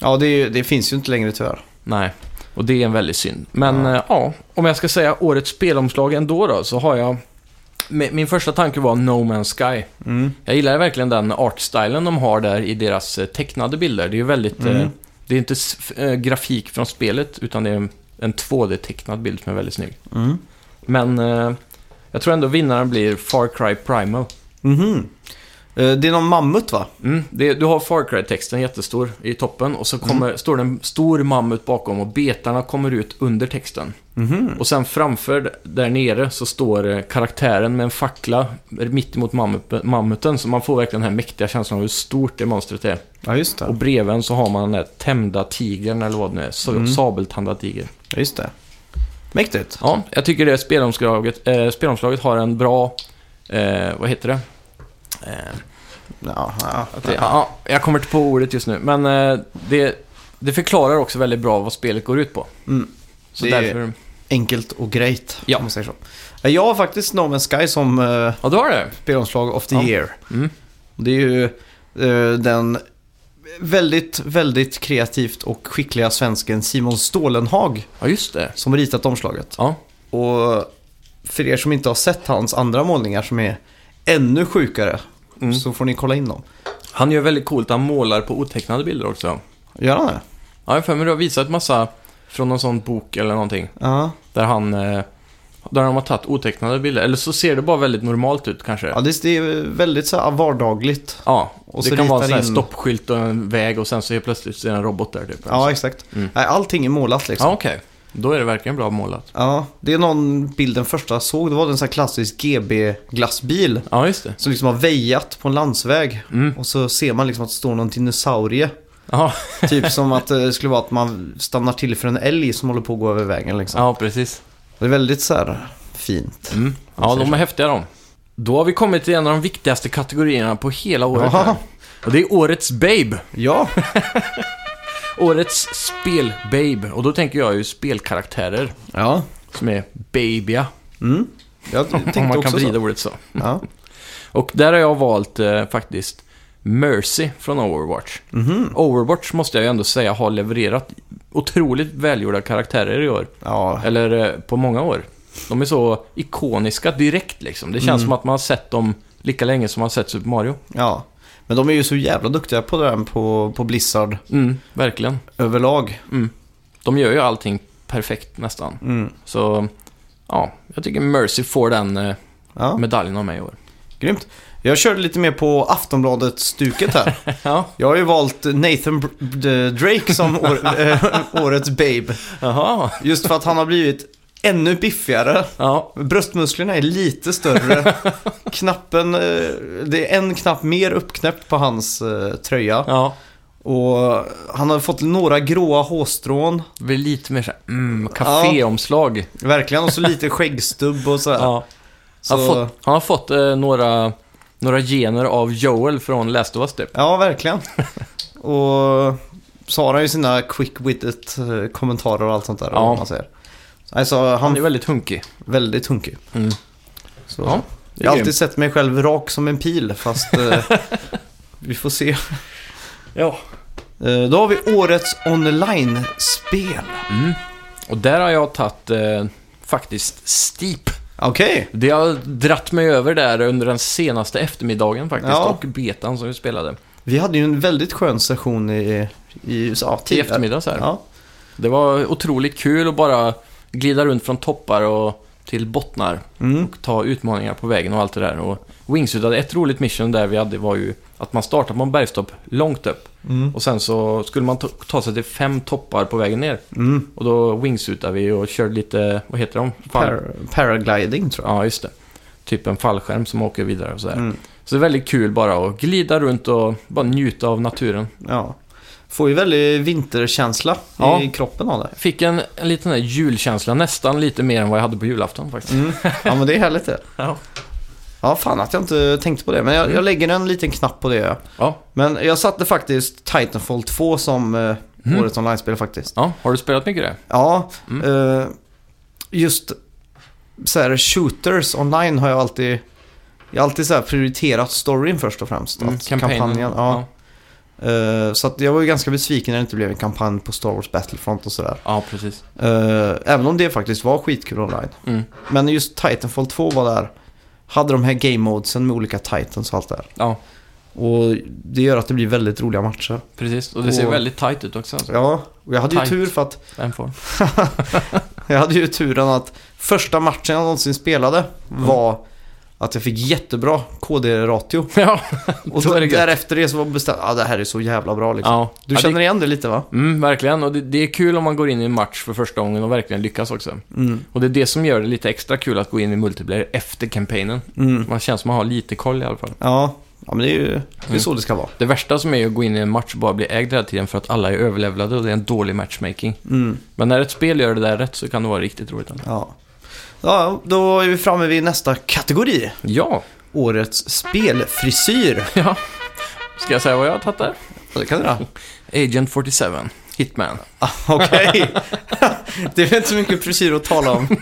B: Ja, det, är ju- det finns ju inte längre tyvärr.
C: Nej, och det är en väldig synd. Men ja. ja, om jag ska säga årets spelomslag ändå då, så har jag... mi- Min första tanke var No Man's Sky. Jag gillar verkligen den artstylen de har där i deras eh, tecknade bilder. Det är ju väldigt... Eh, det är inte s- f- eh, grafik från spelet, utan det är en, en 2D-tecknad bild som är väldigt snygg. Men eh, jag tror ändå vinnaren blir Far Cry Primal.
B: Eh, Det är någon mammut va?
C: Mm, det, du har Far Cry-texten jättestor i toppen och så kommer, står det en stor mammut bakom och betarna kommer ut under texten. Och sen framför d- där nere så står eh, karaktären med en fackla mitt emot mammut, mammuten så man får verkligen den här mäktiga känslan av hur stort det monstret är.
B: Ja, just det.
C: Och bredvid så har man den där tämjda tigern eller vad det nu är, så, sabeltandad tiger.
B: Ja, just det. Mäktigt.
C: Ja, jag tycker det spelomslaget, eh, spelomslaget har en bra, eh, vad heter det?
B: Ja, ja.
C: Det, ja, jag kommer inte på ordet just nu, men eh, det, det förklarar också väldigt bra vad spelet går ut på. Så
B: Det-
C: därför...
B: Enkelt och grejt,
C: Ja.
B: om man säger så. Eh, Jag har faktiskt No Man's Sky som eh,
C: Ja, du har det?
B: spelomslag of the
C: Ja. Mm.
B: year. Det är ju eh, den väldigt, väldigt kreativt och skickliga svensken Simon Stålenhag
C: Ja, just det.
B: som ritat omslaget.
C: Ja,
B: Och för er som inte har sett hans andra målningar som är ännu sjukare
C: Mm.
B: så får ni kolla in dem.
C: han gör väldigt coolt, han målar på otecknade bilder också.
B: Gör han det?
C: Ja, jag har för mig du har visat massa från någon sån bok eller någonting,
B: Ja.
C: där han... Eh, där de har tagit otecknade bilder, eller så ser det bara väldigt normalt ut kanske.
B: Ja, det det är väldigt så här vardagligt.
C: Ja,
B: Och så
C: det kan vara en
B: ritar
C: sån här
B: in-
C: stoppskylt och en väg och sen så helt plötsligt så är det en robot där typ.
B: Ja, exakt. Nej, allting är målat liksom.
C: ja okej. Då är det verkligen bra målat.
B: Ja, det är någon bild den första jag såg. Det var en sån här klassisk GB-glassbil.
C: Ja, just det.
B: Som liksom har väjat på en landsväg.
C: Mm.
B: Och så ser man liksom att det står någon dinosaurie.
C: Ja,
B: Typ som att eh, det skulle vara att man stannar till för en älg som håller på att gå över vägen liksom.
C: ja Mm. precis.
B: Det är väldigt så här fint.
C: Ja, de är häftiga de. Då har vi kommit till en av de viktigaste kategorierna på hela året
B: Jaha.
C: här. Och det är årets babe.
B: Ja,
C: Årets spelbabe. Och då tänker jag ju spelkaraktärer
B: ja.
C: som är babya.
B: Jag tänkte
C: Om man kan
B: också
C: vrida
B: så.
C: ordet så.
B: Ja.
C: Och där har jag valt eh, faktiskt Mercy från Overwatch.
B: Mhm.
C: Overwatch måste jag ju ändå säga har levererat otroligt välgjorda karaktärer i år.
B: Ja.
C: Eller eh, på många år. De är så ikoniska direkt liksom. Det känns
B: Mm.
C: som att man har sett dem lika länge som man har sett Super Mario.
B: ja. Men de är ju så jävla duktiga på det här på, på Blizzard
C: Mm, verkligen.
B: överlag.
C: Mm. De gör ju allting perfekt nästan.
B: Mm.
C: Så, ja, jag tycker Mercy får den eh,
B: Ja.
C: medaljen av mig i år.
B: Grymt. Jag körde lite mer på Aftonbladet-stuket här.
C: Ja,
B: Jag har ju valt Nathan Br- D- Drake som år, eh, årets babe.
C: jaha.
B: Just för att han har blivit ännu biffigare.
C: Ja,
B: Bröstmusklerna är lite större. Knappen, eh, det är en knapp mer uppknäppt på hans eh, tröja.
C: ja.
B: Och han har fått några gråa hårstrån.
C: Det blir lite mer såhär, mm, kaféomslag. Ja.
B: Verkligen. Och så lite skäggstubb och sådär.
C: Han, har
B: Så-
C: fått, han har fått eh, några, några gener av Joel från Last of Us typ.
B: Ja, verkligen. Och så har han ju sina quick witted eh, kommentarer och allt sånt där.
C: Ja.
B: Ja. Man säger. Alltså, han,
C: Han är
B: är
C: väldigt hunkig.
B: väldigt hunkig. Så.
C: Mm. Ja, det är
B: jag har
C: grymt.
B: alltid sett mig själv rak som en pil, fast eh, vi får se.
C: Ja.
B: Eh, då har vi årets online-spel.
C: Och där har jag tagit eh, faktiskt Steep.
B: Okej,
C: Det har dratt mig över där under den senaste eftermiddagen faktiskt.
B: Ja.
C: Och betan som vi spelade.
B: vi hade ju en väldigt skön session i, i USA
C: I
B: tidigare.
C: eftermiddags här.
B: Ja.
C: Det var otroligt kul att bara glida runt från toppar och till bottnar och ta utmaningar på vägen och allt det där. Och Wingsuit hade ett roligt mission där vi hade var ju att man startade på en bergstopp långt upp och sen så skulle man ta, ta sig till fem toppar på vägen ner. Och då wingsuitade vi och körde lite, vad heter de? Fall-
B: Par- paragliding tror jag.
C: Ja, just det. Typ en fallskärm som åker vidare och sådär. Så det är väldigt kul bara att glida runt och bara njuta av naturen.
B: Ja. Får ju väldigt vinterkänsla
C: Ja.
B: i kroppen av det.
C: Fick en, en liten där julkänsla, nästan lite mer än vad jag hade på julafton faktiskt.
B: Ja men det är härligt det.
C: Ja.
B: Ja fan att jag inte tänkte på det. Men jag,
C: Mm.
B: jag lägger en liten knapp på det. ja.
C: Ja.
B: Men jag satte faktiskt Titanfall 2 som eh,
C: Mm.
B: årets online-spel faktiskt.
C: ja, har du spelat mycket det?
B: Ja,
C: Mm.
B: eh, just så här shooters online har jag alltid... Jag har alltid så här prioriterat storyn först och främst. att
C: Mm, Kampanjen?
B: Mm, kampanjen, ja. Eh, så att jag var ju ganska besviken när det inte blev en kampanj på Star Wars Battlefront och sådär.
C: ja, precis.
B: Eh, även om det faktiskt var skitkul online.
C: Mm.
B: Men just Titanfall 2 var där. Hade de här game modesen med olika titans och allt det där.
C: Ja,
B: Och det gör att det blir väldigt roliga matcher.
C: precis. Och det ser
B: Och-
C: väldigt tight ut också. Alltså.
B: Ja, och jag hade ju
C: Tight.
B: tur för att
C: Vem får?
B: Jag hade ju turen att första matchen jag någonsin spelade var att jag fick jättebra KD-ratio.
C: Ja,
B: Och
C: då är det gött.
B: därefter det så var bestämt, ja ah, det här är så jävla bra liksom.
C: Ja.
B: Du
C: ja,
B: känner
C: det,
B: igen det lite va?
C: mm, verkligen. Och det, det är kul om man går in i en match för första gången och verkligen lyckas också.
B: Mm.
C: Och det är det som gör det lite extra kul att gå in i multiplayer efter kampanjen.
B: Mm.
C: Man känns som man har lite koll i alla fall.
B: Ja, ja men det är ju det är så det ska vara.
C: Det värsta som är att gå in i en match och bara bli ägd hela tiden för att alla är överlevlade och det är en dålig matchmaking. Men när ett spel gör det där rätt så kan det vara riktigt roligt. ändå.
B: Mm. Ja. ja, då är vi framme vid nästa kategori.
C: Ja,
B: Årets spelfrisyr.
C: ja. Ska jag säga vad jag har tagit där?
B: Ja, Det kan du göra.
C: Agent 47, Hitman.
B: Ah, Okej. det är väl inte så mycket frisyr att tala om.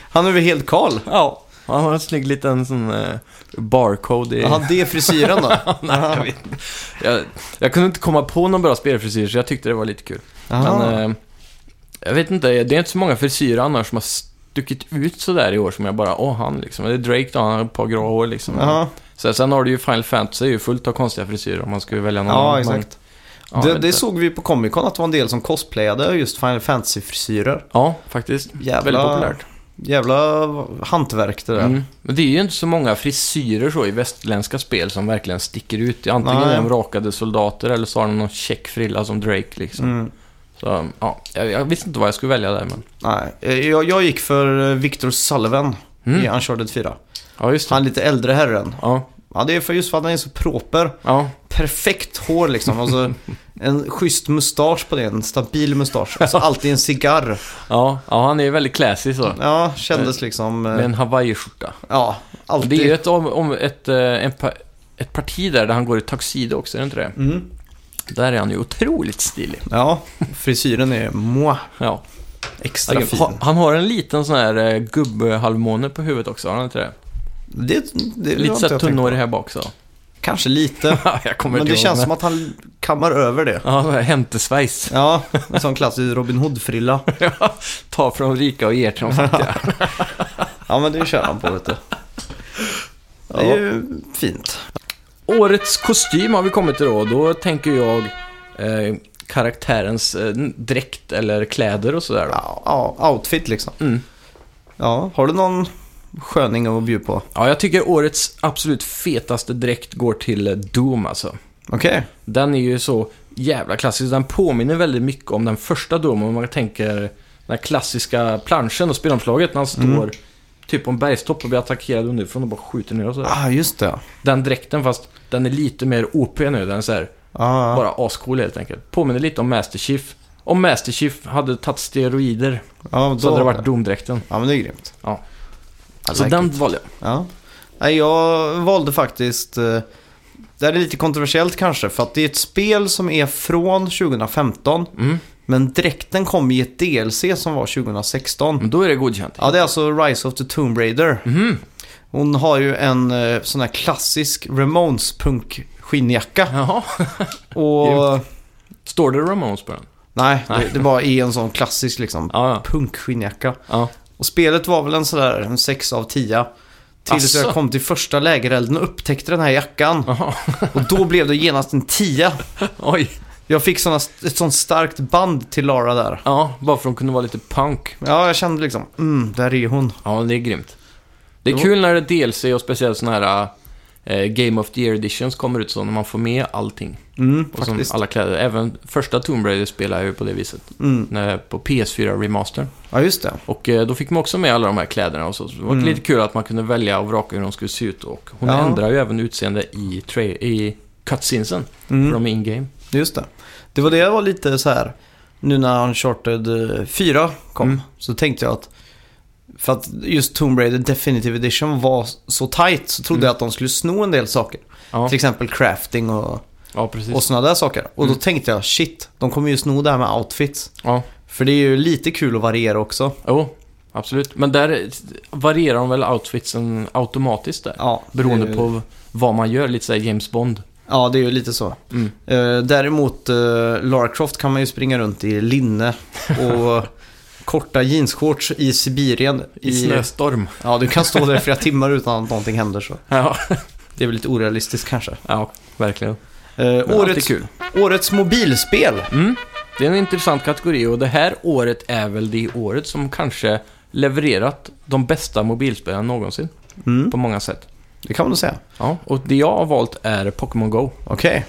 B: Han är väl helt kal?
C: Ja. Han har en snygg liten sån eh, barcode i...
B: Jaha, det är frisyren då?
C: Nej, jag, vet. inte. Jag, jag kunde inte komma på någon bra spelfrisyr, så jag tyckte det var lite kul.
B: Jaha.
C: Men, eh, jag vet inte, det är inte så många frisyrer annars som har stuckit ut sådär i år som jag bara, åh han liksom. Det är Drake då, han har ett par grå hår liksom.
B: Jaha.
C: Så, sen har du ju Final Fantasy, är ju fullt av konstiga frisyrer om man skulle välja någon
B: Ja,
C: annan,
B: exakt.
C: men- ja, jag
B: det
C: vet
B: det
C: inte.
B: såg vi på Comic Con att det var en del som cosplayade just Final Fantasy-frisyrer.
C: Ja, faktiskt.
B: Jävla-
C: Väldigt populärt.
B: Jävla hantverk det där.
C: Mm. Men det är ju inte så många frisyrer så i västländska spel som verkligen sticker ut. Antingen
B: Nej.
C: är de rakade soldater eller så har de någon check frilla som Drake liksom.
B: Mm.
C: Så, ja, jag, jag visste inte vad jag skulle välja där men...
B: Nej, eh, jag, jag gick för eh, Victor Sullivan i
C: Mm.
B: Uncharted 4.
C: Ja, just det.
B: Han är lite äldre herren.
C: Ja,
B: Ja, det är för just för att han är så proper.
C: ja.
B: Perfekt hår liksom. Alltså, en schysst mustasch på det. En stabil mustasch. Alltså, alltid en cigarr.
C: Ja, ja, han är väldigt classy så.
B: Ja, kändes liksom...
C: Med
B: eh,
C: en hawaiiskjorta.
B: Ja, alltid.
C: Det är ju ett, om, om ett, eh, en, pa- ett parti där, där han går i tuxedo också, är det inte det?
B: Mm.
C: Där är han ju otroligt stilig.
B: Ja, frisyren är moi.
C: Ja.
B: Extra fin.
C: Ha, han har en liten sån här eh, gubbhalvmåne på huvudet också, har han inte det?
B: Det, det, det
C: Lite
B: har inte
C: såhär
B: jag tänkt på.
C: tunnhårig här bak så.
B: Kanske lite.
C: Ja, jag kommer
B: Men
C: inte
B: det
C: ihåg,
B: känns som att han kammar över det.
C: Ja, vad är hämtesvejs.
B: Ja, en sån klassisk Robin Hood-frilla.
C: Ta från de rika och ger till de fattiga.
B: Ja, men det kör han på, vet du. Det är ju fint.
C: Årets kostym har vi kommit till då. Då tänker jag eh, karaktärens eh, dräkt eller kläder och sådär då.
B: Ja, ja, outfit liksom. Ja, har du någon sköning att bjuda på?
C: Ja, jag tycker årets absolut fetaste dräkt går till eh, Doom alltså.
B: Okej.
C: Den är ju så jävla klassisk. Den påminner väldigt mycket om den första Doom. Om man tänker den här klassiska planschen och spelomslaget när han
B: Mm.
C: står typ på en bergstopp och blir attackerad underifrån och bara skjuter ner och sådär.
B: Ah, just det.
C: Den dräkten fast den är lite mer OP nu. Den är så här,
B: Ah,
C: bara ascool helt enkelt. Påminner lite om Master Chief. Om Master Chief hade tagit steroider
B: ja,
C: så
B: då
C: hade det varit Doom-dräkten.
B: Ja, men det är grymt.
C: Ja.
B: I
C: Så
B: like
C: den
B: it.
C: valde jag.
B: Ja. Nej, jag valde faktiskt... eh, Det här är lite kontroversiellt kanske, för att det är ett spel som är från 2015.
C: Mm.
B: Men dräkten kom i ett DLC som var 2016.
C: Men då är det godkänt.
B: Ja, det är alltså Rise of the Tomb Raider.
C: Mm-hmm.
B: Hon har ju en eh, sån här klassisk Ramones punk skinnjacka.
C: Jaha.
B: Och...
C: Står det Ramones på den?
B: Nej, det, det bara är en sån klassisk liksom
C: Ja, ja.
B: punk skinnjacka.
C: Ja.
B: Och spelet var väl en sådär en 6 av 10. Tills
C: Asså?
B: jag kom till första lägerelden och upptäckte den här jackan. och då blev det genast en 10.
C: Oj.
B: Jag fick såna, ett sånt starkt band till Lara där.
C: Ja, bara för att hon kunde vara lite punk.
B: Ja, jag kände liksom, mm, där är hon.
C: Ja, det är grymt. Det är kul när det är DLC och speciellt sådana här eh, Game of the Year Editions kommer ut så när man får med allting.
B: Mm,
C: Och som
B: faktiskt.
C: alla kläder. Även första Tomb Raider spelade jag ju på det viset.
B: Mm.
C: När, på PS4 Remaster.
B: Ja, just det.
C: Och eh, då fick man också med alla de här kläderna och så. så det var lite kul att man kunde välja och vraka hur de skulle se ut. Och hon
B: Mm. Ja.
C: ändrar ju även utseende i, tra- i cutscenesen.
B: Mm.
C: För de är in-game.
B: Just det. Det var det jag var lite så här. Nu när Uncharted eh, 4 kom
C: Mm.
B: så tänkte jag att för att just Tomb Raider Definitive Edition var så tight så trodde jag att de skulle sno en del saker.
C: Mm. Ja,
B: Till exempel crafting och,
C: ja precis.
B: och sådana där saker. Och
C: Mm.
B: då tänkte jag shit, de kommer ju sno det här med outfits.
C: Ja.
B: För det är ju lite kul att variera också.
C: Jo, absolut. Men där eh, varierar de väl outfitsen automatiskt där.
B: Ja,
C: Beroende
B: det är-
C: på vad man gör, lite såhär James Bond.
B: Ja, det är ju lite så.
C: Mm.
B: Eh, däremot eh, Lara Croft kan man ju springa runt i linne och korta jeansshorts i Sibirien.
C: I snöstorm.
B: Ja, du kan stå där i flera timmar utan att någonting händer så.
C: Ja,
B: Det är väl lite orealistiskt kanske.
C: ja verkligen.
B: Eh,
C: Men
B: årets,
C: alltid kul. Mm.
B: årets mobilspel.
C: Det är en intressant kategori och det här året är väl det året som kanske levererat de bästa mobilspelen någonsin.
B: Mm.
C: På många sätt.
B: Det kan man nog säga.
C: Ja, och det jag har valt är Pokémon Go.
B: Okej.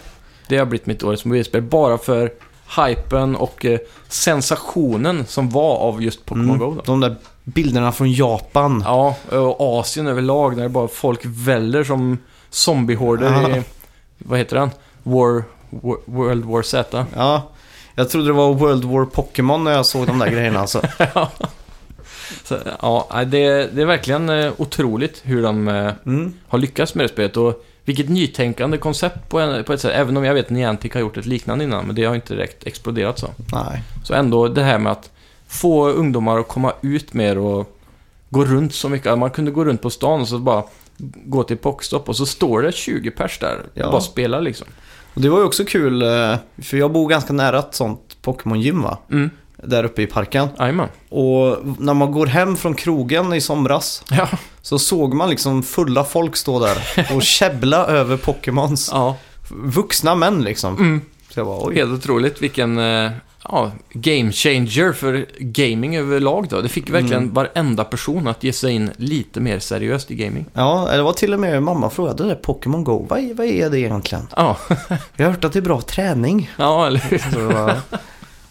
C: Det har blivit mitt årets mobilspel bara för hypen och eh, sensationen som var av just Pokémon Go. Då.
B: De där bilderna från Japan.
C: Ja, och Asien överlag när det bara folk väller som zombiehorder i... Vad heter den? War... War- World War Z.
B: Ja. Jag trodde det var World War Pokémon när jag såg de där grejerna alltså.
C: Så, ja, nej, det, det är verkligen eh, otroligt hur de eh, har lyckats med det spelet och vilket nytänkande koncept på, en, på ett sätt. Även om jag vet att Niantic har gjort ett liknande innan, men det har inte direkt exploderat så.
B: Nej.
C: Så ändå det här med att få ungdomar att komma ut mer och gå runt så mycket. Man kunde gå runt på stan och så bara gå till Pockstop och så står det 20 pers där och
B: Ja.
C: bara spelar liksom.
B: Och det var ju också kul, eh, för jag bor ganska nära ett sånt Pokémon-gym va?
C: Mm.
B: Där uppe i parken.
C: Jajamän.
B: Och när man går hem från krogen i somras
C: Ja.
B: så såg man liksom fulla folk stå där och käbbla över Pokémons.
C: ja.
B: Vuxna män liksom. Så jag bara, oj.
C: Helt otroligt vilken eh, ja, game changer för gaming överlag då. Det fick verkligen varenda person att ge sig in lite mer seriöst i gaming.
B: Ja, det var till och med mamma frågade det där Pokémon Go, vad är, vad är det egentligen?
C: Ja,
B: Jag har hört att det är bra träning.
C: ja eller hur?
B: Så det var,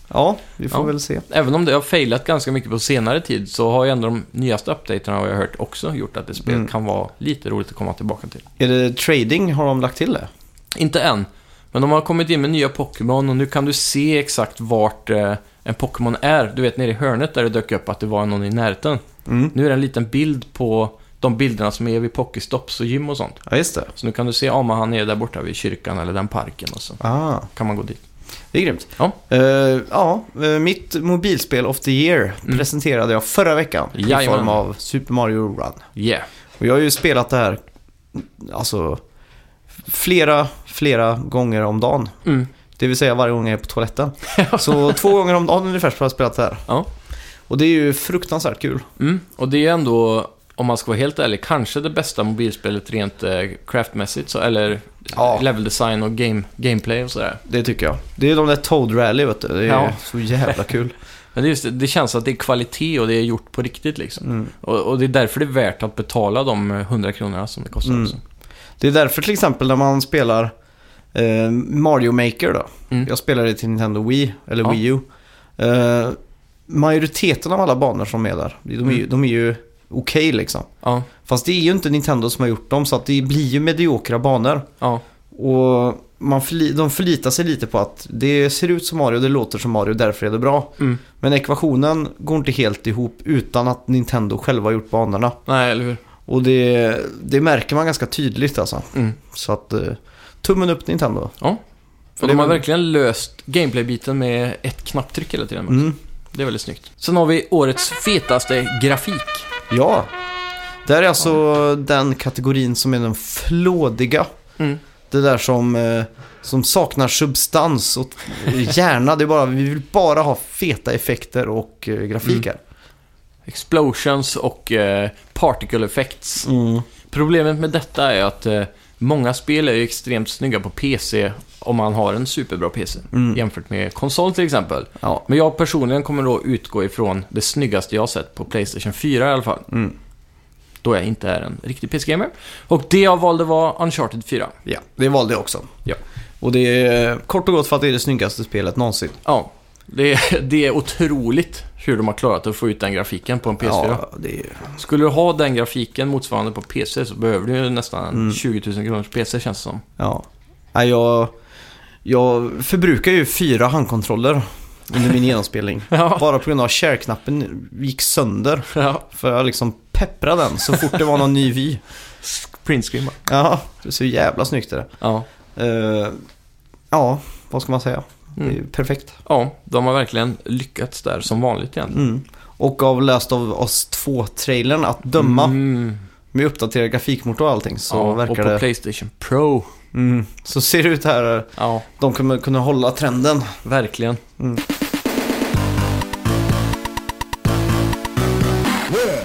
B: ja, vi får
C: Ja.
B: väl se.
C: Även om det har failat ganska mycket på senare tid så har ju ändå de nyaste updaterna har jag hört också gjort att det spelet kan vara lite roligt att komma tillbaka till.
B: Är det trading? Har de lagt till det?
C: Inte än, men de har kommit in med nya Pokémon och nu kan du se exakt vart eh, en Pokémon är. Du vet nere i hörnet där det dök upp att det var någon i närheten. Nu är det en liten bild på de bilderna som är vid Pokestops och gym och sånt.
B: Ja, just det.
C: Så nu kan du se om han är där borta vid kyrkan eller den parken och så
B: Ah,
C: kan man gå dit.
B: det är grymt.
C: Ja.
B: Eh, ja, eh, mitt mobilspel of the year presenterade jag förra veckan i
C: Mm. Jajamän.
B: form av Super Mario Run.
C: Yeah.
B: Och jag har ju spelat det här, alltså, flera, flera gånger om dagen.
C: Mm.
B: Det vill säga varje gång jag är på toaletten. Så två gånger om dagen ungefär så har jag spelat det här.
C: Ja.
B: Och det är ju fruktansvärt kul.
C: Mm. Och det är ändå, om man ska vara helt ärlig, kanske det bästa mobilspelet rent eh, craftmässigt. Så, eller
B: Ja.
C: level design och game, gameplay och sådär.
B: Det tycker jag. Det är de där Toad Rally, vet du. Det är
C: Ja.
B: så jävla kul.
C: Men det, är just, det- det känns att det är kvalitet och det är gjort på riktigt liksom.
B: Mm.
C: Och, och det är därför det är värt att betala de eh, 100 kronorna som det kostar
B: Mm.
C: liksom. också.
B: Det är därför till exempel när man spelar eh, Mario Maker då.
C: Mm.
B: Jag spelade till Nintendo Wii, eller
C: Ja.
B: Wii U. Eh, majoriteten av alla banor som är där, de är
C: Mm.
B: ju, de är ju okej liksom.
C: Ja,
B: Fast det är ju inte Nintendo som har gjort dem, så att det blir ju mediokra banor.
C: ja,
B: Och man förli- de förlitar sig lite på att det ser ut som Mario, det låter som Mario, därför är det bra.
C: Mm.
B: Men ekvationen går inte helt ihop utan att Nintendo själva har gjort banorna.
C: nej eller hur?
B: Och det, det märker man ganska tydligt alltså.
C: Mm.
B: Så att eh, tummen upp Nintendo.
C: Ja.
B: För det
C: Och de har
B: var-
C: verkligen löst gameplay-biten med ett knapptryck hela tiden. också.
B: Mm.
C: Det är väldigt snyggt. Sen har vi årets fetaste grafik.
B: Ja, där är alltså den kategorin som är den flådiga.
C: Mm.
B: Det där som, eh, som saknar substans och hjärna. Det är bara, vi vill bara ha feta effekter och eh, grafik här.
C: Explosions och eh, particle effects.
B: Mm.
C: Problemet med detta är att eh, många spel är ju extremt snygga på PC om man har en superbra PC. Jämfört med konsol till exempel.
B: Ja.
C: Men jag personligen kommer då utgå ifrån det snyggaste jag har sett på Playstation 4 i alla fall. Då jag inte är en riktig PC-gamer. Och det jag valde var Uncharted 4.
B: ja, det valde jag också.
C: Ja.
B: Och det är eh, kort och gott för att det är det snyggaste spelet någonsin.
C: Ja, det, det är otroligt hur de har klarat att få ut den grafiken på en PS4.
B: Ja, det är...
C: Skulle du ha den grafiken motsvarande på PC så behöver du ju nästan en 20 000 kronors PC känns det som.
B: Ja. Nej, jag, jag förbrukar ju fyra handkontroller under min genomspelning.
C: Ja.
B: Bara på grund av att share-knappen gick sönder.
C: Ja.
B: För jag liksom pepprade den så fort det var någon ny vy.
C: Printscreen bara.
B: Ja, det är så jävla snyggt är det.
C: Ja.
B: Eh, ja, vad ska man säga? Det är
C: Mm.
B: ju perfekt.
C: ja, de har verkligen lyckats där som vanligt egentligen.
B: Mm. Och av Last of Us 2-trailern att döma,
C: Mm.
B: med uppdaterad grafikmotor och allting, så
C: ja, och på
B: verkar det...
C: Playstation Pro.
B: Mm, så ser det ut här. eh,
C: Ja,
B: De kommer kunna hålla trenden.
C: verkligen.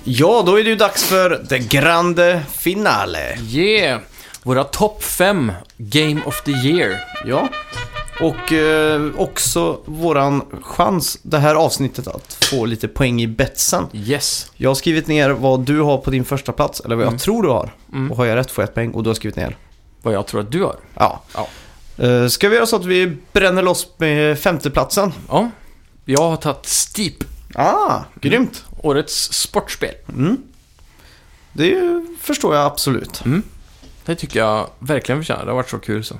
B: Ja, då är det ju dags för the grande finale.
C: Yeah! Våra topp fem Game of the Year.
B: Ja. Och eh, också våran chans det här avsnittet att få lite poäng i betsen.
C: Yes.
B: Jag har skrivit ner vad du har på din första plats eller vad jag tror du har. Och har jag rätt får jag ett poäng och du har skrivit ner.
C: Vad jag tror att du har.
B: Ja.
C: Ja.
B: Eh, ska vi göra så att vi bränner loss med femteplatsen?
C: Ja. Jag har tagit Steep,
B: Ah, grymt.
C: årets sportspel.
B: Det är ju, förstår jag absolut.
C: Det tycker jag verkligen förtjänar. Det har varit så kul så.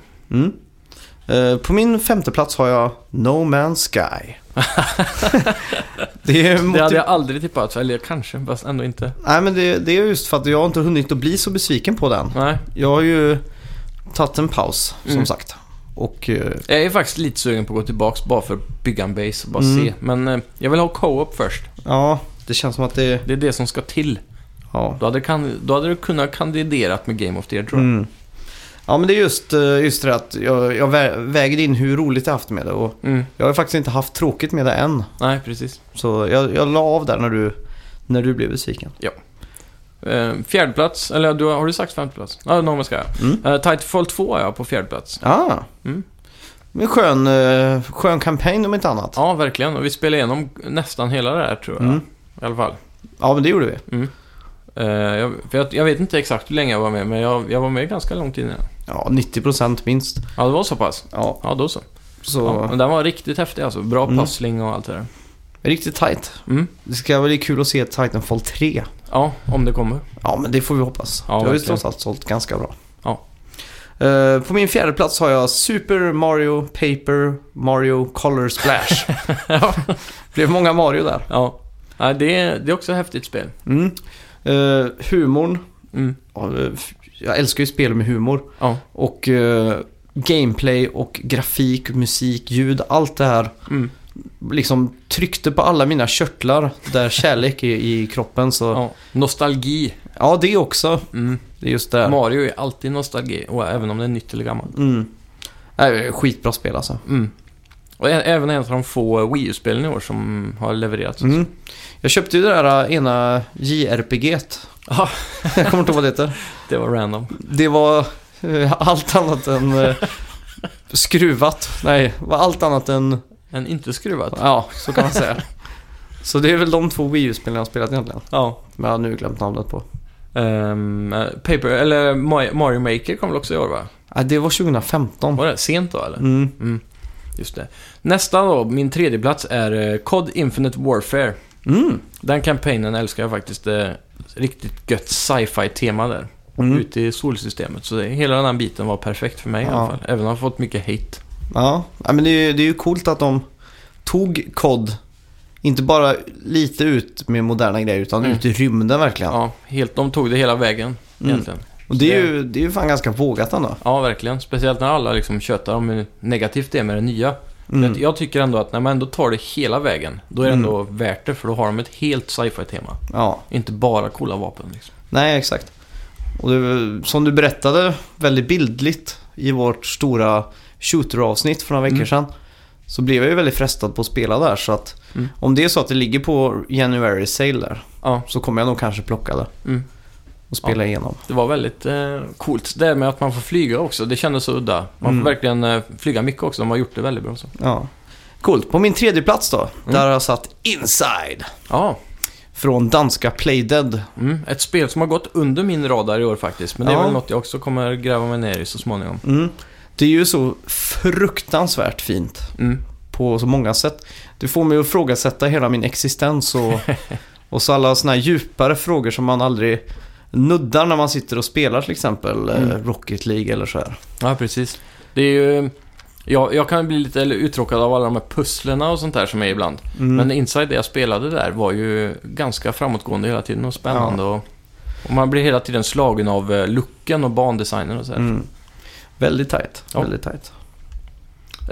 B: Eh, På min femte plats har jag No Man's Sky. det är
C: Det hade
B: motiv-
C: jag aldrig tippat, eller kanske, fast ändå inte.
B: Nej men det, det är just för att jag har inte hunnit att bli så besviken på den.
C: Nej.
B: Jag har ju tagit en paus
C: Mm.
B: som sagt. Och eh,
C: Jag är faktiskt lite sugen på att gå tillbaks bara för att bygga en base och bara
B: Mm.
C: se. Men eh, jag vill ha co-op först.
B: ja, det känns som att det...
C: Det är det som ska till.
B: Ja,
C: Då hade, kan, då hade du kunnat kandiderat med Game of the Year tror jag.
B: Mm. ja men det är just, eh, just det att jag, jag vä- väger in hur roligt jag haft med det. Och
C: Mm.
B: jag har faktiskt inte haft tråkigt med det än.
C: Nej, precis.
B: Så jag, jag la av där när du, när du blev besviken.
C: Eh, fjärde plats, eller du, har har du sagt femte plats? Ja, ah, Norman ska jag.
B: Mm.
C: Eh, Titanfall 2 är jag på fjärde plats.
B: Ah.
C: Mm.
B: Men skön, eh, skön kampanj om inte annat.
C: Ja, verkligen. Och vi spelade igenom nästan hela det här tror jag.
B: Mm.
C: I alla fall.
B: Ja, men det gjorde vi.
C: Eh, jag, för jag, jag vet inte exakt hur länge jag var med, men jag, jag var med ganska långt innan.
B: Ja, 90% minst.
C: Ja, det var så pass.
B: Ja,
C: Ja, då så.
B: så Mm.
C: Ja, men den var riktigt häftig alltså. Bra pussling och allt det där.
B: riktigt tight.
C: Mm.
B: Det ska bli kul att se Titanfall 3.
C: Ja, om det kommer.
B: Ja, men det får vi hoppas.
C: Ja,
B: det har ju
C: verkligen.
B: trots allt sålt ganska bra.
C: Ja.
B: Eh, på min fjärde plats har jag Super Mario Paper Mario Color Splash.
C: ja.
B: blev många Mario där.
C: ja. Nej, det, är, det är också ett häftigt spel.
B: Mm. Eh, humorn.
C: Mm.
B: Ja, eh, f- jag älskar ju spel med humor.
C: Ja.
B: Och eh, gameplay och grafik, musik, ljud, allt det här.
C: Mm.
B: Liksom tryckte på alla mina körtlar där kärlek är i kroppen. Så ja,
C: Ja. Nostalgi.
B: det också.
C: Mm.
B: Det är just det. här.
C: Mario är alltid nostalgi, och även om det är nytt eller gammalt.
B: Mm. Nej, skitbra spel alltså.
C: Mm. Och ä- även en av de få Wii U-spelen i år som har levererats.
B: Mm. Jag köpte ju det där äh, ena JRPG. -t.
C: Ja,
B: Jag kommer inte ihåg vad det heter.
C: det var random.
B: Det var eh, allt annat än eh, skruvat. Nej, var allt annat än...
C: En inte skruvat.
B: Ja, så kan man säga. Så det är väl de två Wii U-spelen jag har spelat egentligen.
C: Ja.
B: Men jag har nu glömt namnet på.
C: Ehm, eh, Paper, eller Ma- Mario Maker kom väl också i år va?
B: Ja, Äh, det var 2015.
C: Var det sent då eller?
B: Mm.
C: Just det. Nästa då, min tredje plats är eh, COD Infinite Warfare.
B: Mm.
C: Den kampanjen älskar jag faktiskt. Eh, riktigt gött sci-fi tema där.
B: Mm.
C: Ute i solsystemet. Så det, hela den här biten var perfekt för mig i
B: Ja.
C: alla fall. Även om jag har fått mycket hate.
B: Ja. ja, men det är, ju- det är ju coolt att de tog kod inte bara lite ut med moderna grejer utan
C: Mm.
B: ut i rymden verkligen.
C: Ja, helt, de tog det hela vägen
B: Mm.
C: egentligen.
B: Och det är ju, det är ju fan ganska vågat ändå.
C: Ja, verkligen. Speciellt när alla liksom tjötar om hur negativt det är med det nya.
B: Mm.
C: Jag, jag tycker ändå att när man ändå tar det hela vägen, då är det
B: Mm.
C: ändå värt det. För då har de ett helt sci-fi-tema.
B: Ja,
C: Inte bara coola vapen liksom.
B: nej exakt. Och det, som du berättade väldigt bildligt i vårt stora shooter-avsnitt för några veckor
C: Mm.
B: sedan. Så blev jag ju väldigt frestad på att spela där. Så att
C: Mm.
B: om det är så att det ligger på January Sale där.
C: Ja.
B: Så kommer jag nog kanske plocka det.
C: Mm.
B: Och spela igenom.
C: Det var väldigt eh, coolt. Det här med att man får flyga också, det kändes så udda. Man
B: Mm.
C: får verkligen eh, flyga mycket också. De har gjort det väldigt bra. Så.
B: Ja. Coolt. På min tredje plats då.
C: Mm.
B: Där har jag satt Inside.
C: Ja,
B: Från danska Playdead.
C: mm. ett spel som har gått under min radar i år faktiskt. Men det är
B: Ja.
C: väl något jag också kommer gräva mig ner i så småningom.
B: Mm. Det är ju så fruktansvärt fint.
C: Mm.
B: på så många sätt. Du får mig att ifrågasätta hela min existens och, och så alla såna här djupare frågor som man aldrig
C: Mm.
B: nuddar när man sitter och spelar till exempel eh, Rocket League eller så här.
C: Ja, precis. Det är ju... Jag, jag kan bli lite uttråkad av alla de här pusslerna och sånt där som är ibland. Men Inside, det jag spelade där, var ju ganska framåtgående hela tiden och spännande. Och, och man blir hela tiden slagen av eh, looken och bandesignen och så här.
B: Väldigt tight.
C: Ja.
B: Väldigt tight.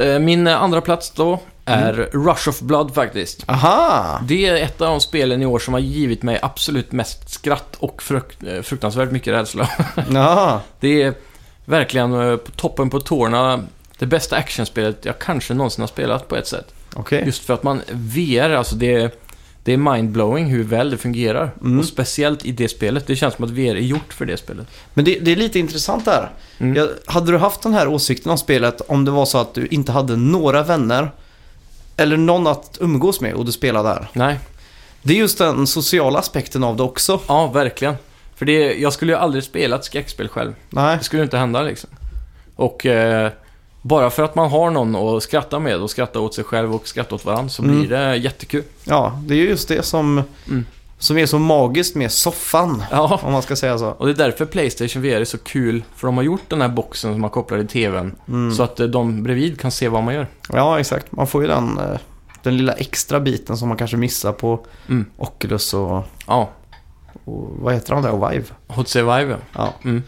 C: Eh, Min eh, andra plats då är Rush of Blood faktiskt.
B: Aha!
C: Det är ett av de spelen i år som har givit mig absolut mest skratt och frukt, eh, fruktansvärt mycket rädsla.
B: Ja.
C: Det är verkligen eh, på toppen på tårna. Det bästa actionspelet jag kanske någonsin har spelat på ett sätt.
B: Okej.
C: Just för att man VR, alltså det är, det är mindblowing hur väl det fungerar. Och speciellt i det spelet. Det känns som att VR är gjort för det spelet.
B: Men det, det är lite intressant där.
C: Mm.
B: Jag, hade du haft den här åsikten om spelet om det var så att du inte hade några vänner eller någon att umgås med och du spelade där?
C: Nej,
B: Det är just den sociala aspekten av det också.
C: ja verkligen. För det, jag skulle ju aldrig spela ett skräckspel själv.
B: Nej.
C: Det skulle ju inte hända liksom. Och eh, bara för att man har någon att skratta med och skratta åt sig själv och skratta åt varandra så blir det jättekul.
B: Ja, det är ju just det som,
C: Mm.
B: som är så magiskt med soffan.
C: Ja.
B: Om man ska säga så.
C: Och det är därför Playstation VR är så kul, för de har gjort den här boxen som man kopplar i TVn. Så att eh, de bredvid kan se vad man gör.
B: Ja, exakt. Man får ju den, eh, den lilla extra biten som man kanske missar på
C: Mm.
B: Oculus och,
C: Ja,
B: och vad heter de där? Och Vive.
C: Hot Survive ja.
B: Ja,
C: Mm.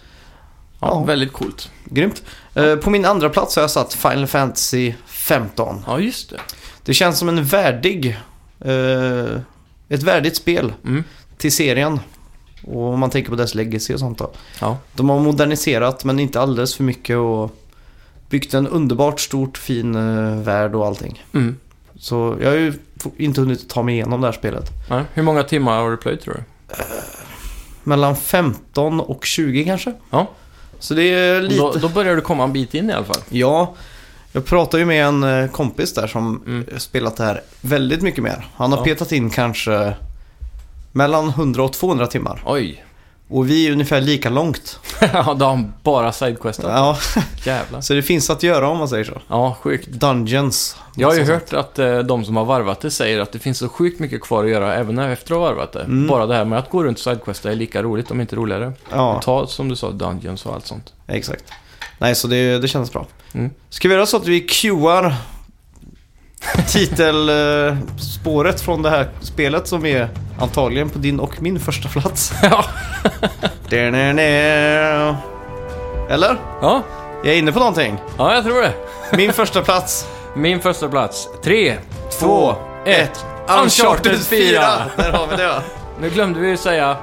C: Ja,
B: Ja.
C: Väldigt coolt.
B: grymt. Eh, På min andra plats har jag satt Final Fantasy 15.
C: Ja, just det.
B: Det känns som en värdig... eh, ett värdigt spel
C: Mm.
B: till serien. Och om man tänker på dess legacy och sånt då.
C: Ja.
B: De har moderniserat men inte alldeles för mycket och byggt en underbart stort fin eh, värld och allting.
C: Mm.
B: Så jag har ju f- inte hunnit ta mig igenom det här spelet.
C: Nej, hur många timmar har du plöjt tror du?
B: Mellan 15 och 20 kanske.
C: Ja.
B: Så det är lite...
C: Då, då börjar du komma en bit in i alla fall.
B: Ja, jag pratade ju med en eh, kompis där som
C: Mm.
B: eh, spelat det här väldigt mycket mer. Han har
C: Ja.
B: petat in kanske mellan 100 och 200 timmar.
C: Oj.
B: Och vi är ungefär lika långt.
C: ja, då har han bara sidequestat.
B: Ja,
C: Jävlar.
B: så det finns att göra om man säger så.
C: Ja, sjukt.
B: Dungeons. Alltså,
C: Jag har ju
B: Så-
C: hört att eh, de som har varvat det säger att det finns så sjukt mycket kvar att göra även efter att ha varvat det. Bara det här med att gå runt Sidequesta är lika roligt, om inte roligare.
B: Ja,
C: Ta, som du sa, Dungeons och allt sånt.
B: exakt. Nej, så det, det känns bra.
C: Mm.
B: Ska vi göra så att vi cuear titelspåret från det här spelet som är antagligen på din och min första plats.
C: ja.
B: Eller?
C: ja,
B: Jag är inne på någonting.
C: ja, jag tror det.
B: Min första plats.
C: Min första plats. Tre,
B: Två,
C: två,
B: ett.
C: ett. Uncharted 4!
B: Där har vi det va?
C: Nu glömde vi ju säga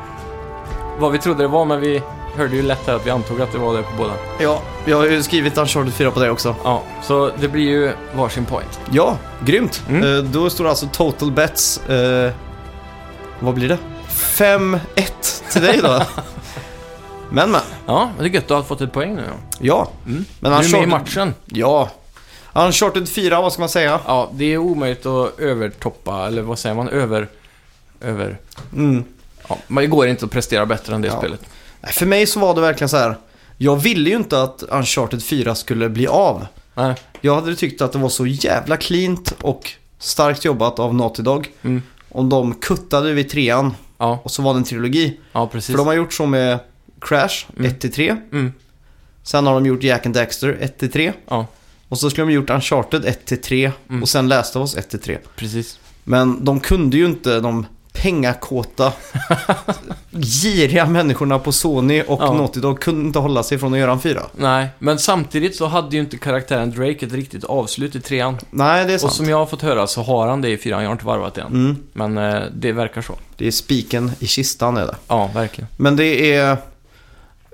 C: vad vi trodde det var, men vi hörde ju lätt här att vi antog att det var det på båda.
B: Ja, jag har ju skrivit Uncharted 4 på det också.
C: Ja, så det blir ju varsin point.
B: Ja, grymt.
C: Mm.
B: Eh, då står det alltså total bets. Eh, vad blir det? 5-1 till dig då. men men,
C: Ja, men det är gött att ha fått ett poäng nu. Ja.
B: ja. Men
C: Mm. Du är med i matchen.
B: Ja. Uncharted 4, vad ska man säga?
C: Ja, det är omöjligt att övertoppa, eller vad säger man? Över... Över...
B: Mm.
C: Ja, men det går inte att prestera bättre än det
B: Ja.
C: spelet.
B: Nej, För mig så var det verkligen så här. Jag ville ju inte att Uncharted 4 skulle bli av.
C: Nej.
B: Jag hade tyckt att det var så jävla cleant och starkt jobbat av Naughty Dog.
C: Mm.
B: Om de kuttade vid trean
C: Ja,
B: och så var det en trilogi.
C: ja precis.
B: För de har gjort så med Crash 1-3.
C: Mm.
B: Sen har de gjort Jack and Daxter 1-3.
C: Ja,
B: Och så skulle de gjort Uncharted 1-3
C: Mm.
B: och sen Last of Us 1-3.
C: precis.
B: Men de kunde ju inte de pengakåta, giriga människorna på Sony och
C: Ja.
B: Naughty Dog kunde inte hålla sig från att göra en fyra.
C: Nej, men samtidigt så hade ju inte karaktären Drake ett riktigt avslut i trean.
B: Nej, det är
C: Och
B: sant.
C: som jag har fått höra så har han det i fyran, jag har inte varvat det än.
B: Mm.
C: Men eh, det verkar så.
B: Det är spiken i kistan är det.
C: Ja, verkligen.
B: Men det är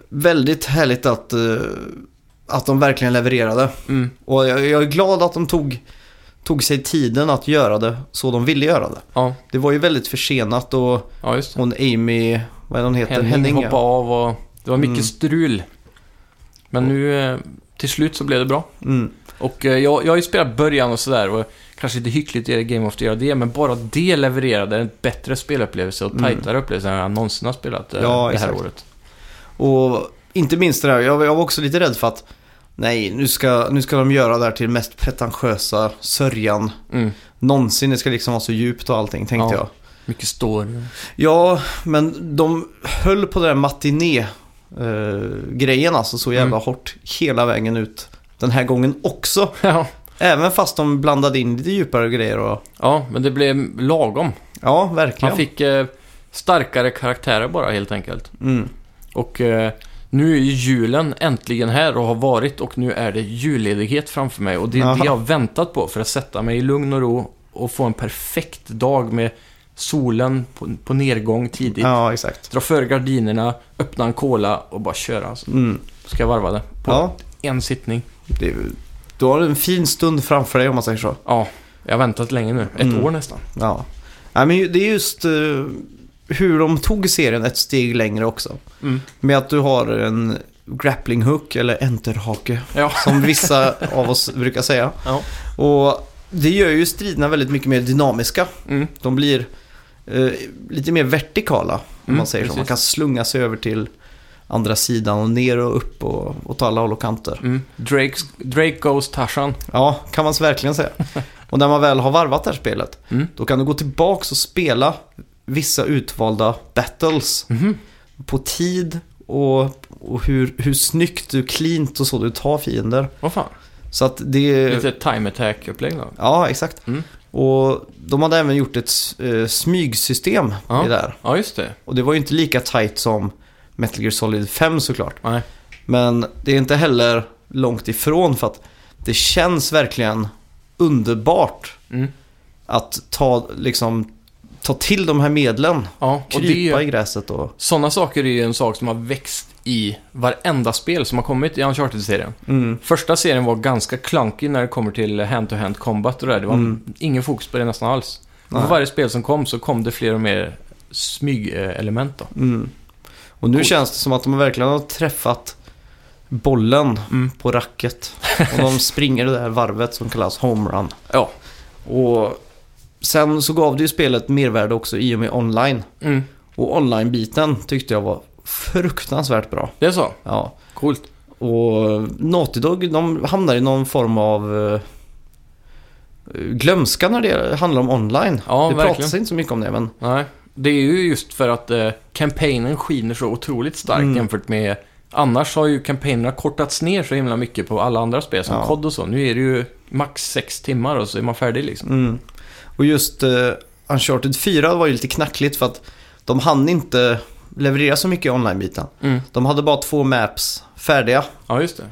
B: väldigt härligt att, eh, att de verkligen levererade.
C: Mm.
B: Och jag, jag är glad att de tog, tog sig tiden att göra det så de ville göra det.
C: Ja,
B: Det var ju väldigt försenat och
C: ja just det.
B: hon Amy, vad är hon heter?
C: Henning,
B: ja.
C: hoppade av och det var mycket
B: Mm.
C: strul. Men nu eh, till slut så blev det bra.
B: Mm.
C: Och eh, jag, jag har ju spelat början och sådär och kanske lite hyckligt är det Game of the Year och det, men bara det levererade en bättre spelupplevelse och tajtare upplevelse än jag någonsin har spelat eh,
B: Mm. Ja,
C: det här
B: exakt.
C: året.
B: Och inte minst det där, jag, jag var också lite rädd för att nej, nu ska, nu ska de göra det här till mest pretentiösa sörjan
C: Mm.
B: någonsin. Det ska liksom vara så djupt och allting tänkte
C: Ja.
B: jag.
C: Mycket story.
B: Ja, men de höll eh,
C: Mm.
B: på den där matiné-grejen alltså så jävla hårt hela vägen ut. den här gången också.
C: Ja.
B: Även fast de blandade in lite djupare grejer och...
C: ja, men det blev lagom.
B: Ja,
C: Man
B: verkligen.
C: fick eh, starkare karaktärer bara helt enkelt.
B: Mm.
C: Och eh, nu är ju julen äntligen här och har varit och nu är det julledighet framför mig. Och det är
B: Aha.
C: det jag har väntat på för att sätta mig i lugn och ro och få en perfekt dag med solen på, på nedgång tidigt.
B: Ja, exakt.
C: Dra före gardinerna, öppna en cola och bara köra. Alltså.
B: Mm.
C: Ska jag varva det på
B: Ja,
C: en sittning.
B: det, du har en fin stund framför dig om man säger så.
C: Ja, jag har väntat länge nu. Ett
B: Mm.
C: år nästan.
B: Ja. Nej, men ju- det är just eh, hur de tog serien ett steg längre också.
C: Mm.
B: Med att du har en grappling hook eller enterhake
C: Ja.
B: som vissa av oss brukar säga.
C: Ja.
B: Och det gör ju striderna väldigt mycket mer dynamiska.
C: Mm.
B: De blir eh, lite mer vertikala om
C: Mm,
B: man säger så. Man
C: precis.
B: kan slunga sig över till andra sidan och ner och upp och åt alla håll och kanter.
C: Mm. Drake's, Drake goes Tarzan.
B: Ja, kan man verkligen säga. Och när man väl har varvat det här spelet,
C: Mm.
B: då kan du gå tillbaka och spela vissa utvalda battles
C: Mhm.
B: på tid och, och hur, hur snyggt du cleant och så du tar fiender.
C: Vad fan.
B: Så att det...
C: Lite time attack-upplägg då.
B: Ja, exakt.
C: Mm.
B: Och de hade även gjort ett eh, smygsystem
C: Ja.
B: i det här.
C: Ja, just det.
B: Och det var ju inte lika tight som Metal Gear Solid 5 såklart.
C: Nej.
B: Men det är inte heller långt ifrån för att det känns verkligen underbart
C: Mm.
B: att ta, liksom, ta till de här medlen.
C: Ja, och det
B: Krypa
C: är
B: i
C: ju,
B: gräset och...
C: sådana saker är ju en sak som har växt i varenda spel som har kommit i Uncharted-serien.
B: Mm.
C: Första serien var ganska klunkig när det kommer till hand-to-hand combat och det där. Det var
B: Mm.
C: ingen fokus på det nästan alls. Och
B: Nej.
C: för varje spel som kom så kom det fler och mer smygelement då.
B: Mm. Och nu
C: Coolt.
B: känns det som att de verkligen har träffat bollen
C: Mm.
B: på racket. Och de springer det där varvet som kallas homerun.
C: Ja.
B: Och sen så gav det ju spelet mervärde också i och med online.
C: Mm.
B: Och online-biten tyckte jag var fruktansvärt bra.
C: Det är så.
B: Ja.
C: Coolt.
B: Och Naughty Dog, de hamnar i någon form av eh, glömska när det handlar om online.
C: Ja,
B: det
C: verkligen.
B: pratas inte så mycket om det, men
C: Nej. Det är ju just för att eh, kampanjen skiner så otroligt starkt
B: Mm.
C: jämfört med... Annars har ju kampanjerna kortats ner så himla mycket på alla andra spel som
B: Ja.
C: COD och så. Nu är det ju max sex timmar och så är man färdig liksom.
B: Mm. Och just eh, Uncharted 4 var ju lite knackligt för att de hann inte leverera så mycket i online-biten.
C: Mm.
B: De hade bara två maps färdiga.
C: Ja, just det.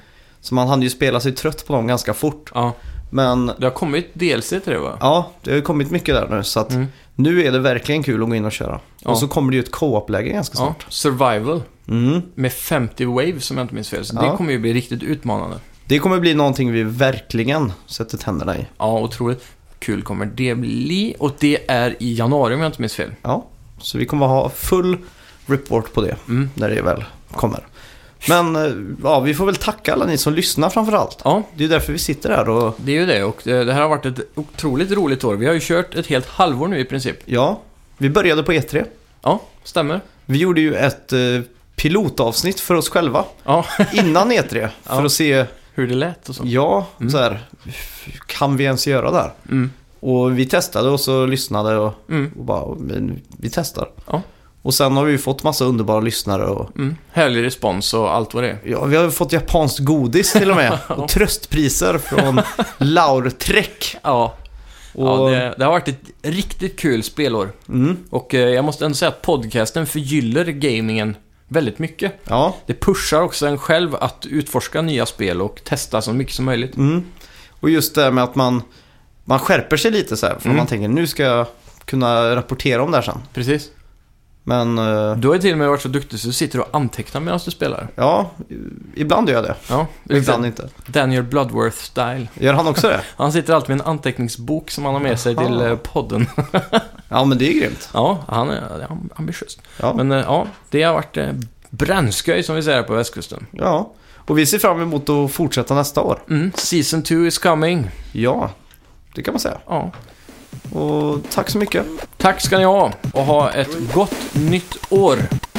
B: Så man hann ju spela sig trött på dem ganska fort.
C: Ja.
B: Men
C: Det har kommit DLC till det va?
B: ja, det har ju kommit mycket där nu så att
C: Mm.
B: nu är det verkligen kul att gå in och köra.
C: Ja.
B: Och så kommer det ju ett co-op-läge ganska
C: Ja,
B: snart.
C: survival
B: Mm.
C: med 50 waves om jag inte minns fel. Så
B: Ja.
C: det kommer ju bli riktigt utmanande.
B: Det kommer bli någonting vi verkligen sätter tänderna i.
C: Ja, otroligt kul kommer det bli. Och det är i januari om jag inte minns fel.
B: Ja, så vi kommer ha full report på det
C: Mm.
B: när det väl kommer. Men eh, ja, vi får väl tacka alla ni som lyssnar framför allt.
C: Ja,
B: Det är därför vi sitter här och
C: det är ju det. Och eh, det här har varit ett otroligt roligt år. Vi har ju kört ett helt halvår nu i princip.
B: ja, vi började på E3.
C: Ja, stämmer.
B: Vi gjorde ju ett eh, pilotavsnitt för oss själva
C: Ja,
B: innan E3 för
C: Ja.
B: att se,
C: hur det lät och så.
B: ja, så här, kan vi ens göra det här?
C: Mm.
B: Och vi testade och så lyssnade och,
C: Mm.
B: och bara, men vi testar.
C: Ja.
B: Och sen har vi ju fått massa underbara lyssnare och
C: Mm. Härlig respons och allt vad det är.
B: Ja, vi har fått japanskt godis till och med. Och tröstpriser från Laurträck.
C: Ja,
B: Och,
C: ja det, det har varit ett riktigt kul spelår.
B: Mm,
C: Och eh, jag måste ändå säga att podcasten förgyller gamingen väldigt mycket.
B: ja,
C: Det pushar också en själv att utforska nya spel och testa så mycket som möjligt.
B: mm. Och just det här med att man, man skärper sig lite så här.
C: Mm.
B: För man tänker nu ska jag kunna rapportera om det här sen.
C: Precis.
B: Men eh,
C: Du har ju till och med varit så duktig så du sitter och antecknar medan du spelar.
B: ja, ibland gör jag det.
C: Ja,
B: Och ibland
C: lite
B: inte.
C: Daniel Bloodworth-style.
B: Gör han också det?
C: Han sitter alltid med en anteckningsbok som han har med sig
B: Jaha.
C: till eh, podden.
B: Ja, men det är ju grymt.
C: Ja, han är han är ambitiös.
B: Ja.
C: Men eh, ja, det har varit eh, brännskoj som vi säger här på västkusten.
B: ja. Och vi ser fram emot att fortsätta nästa år.
C: Mm, season 2 is coming.
B: Ja, det kan man säga.
C: Ja.
B: Och tack så mycket.
C: Tack ska ni ha och ha ett gott nytt år.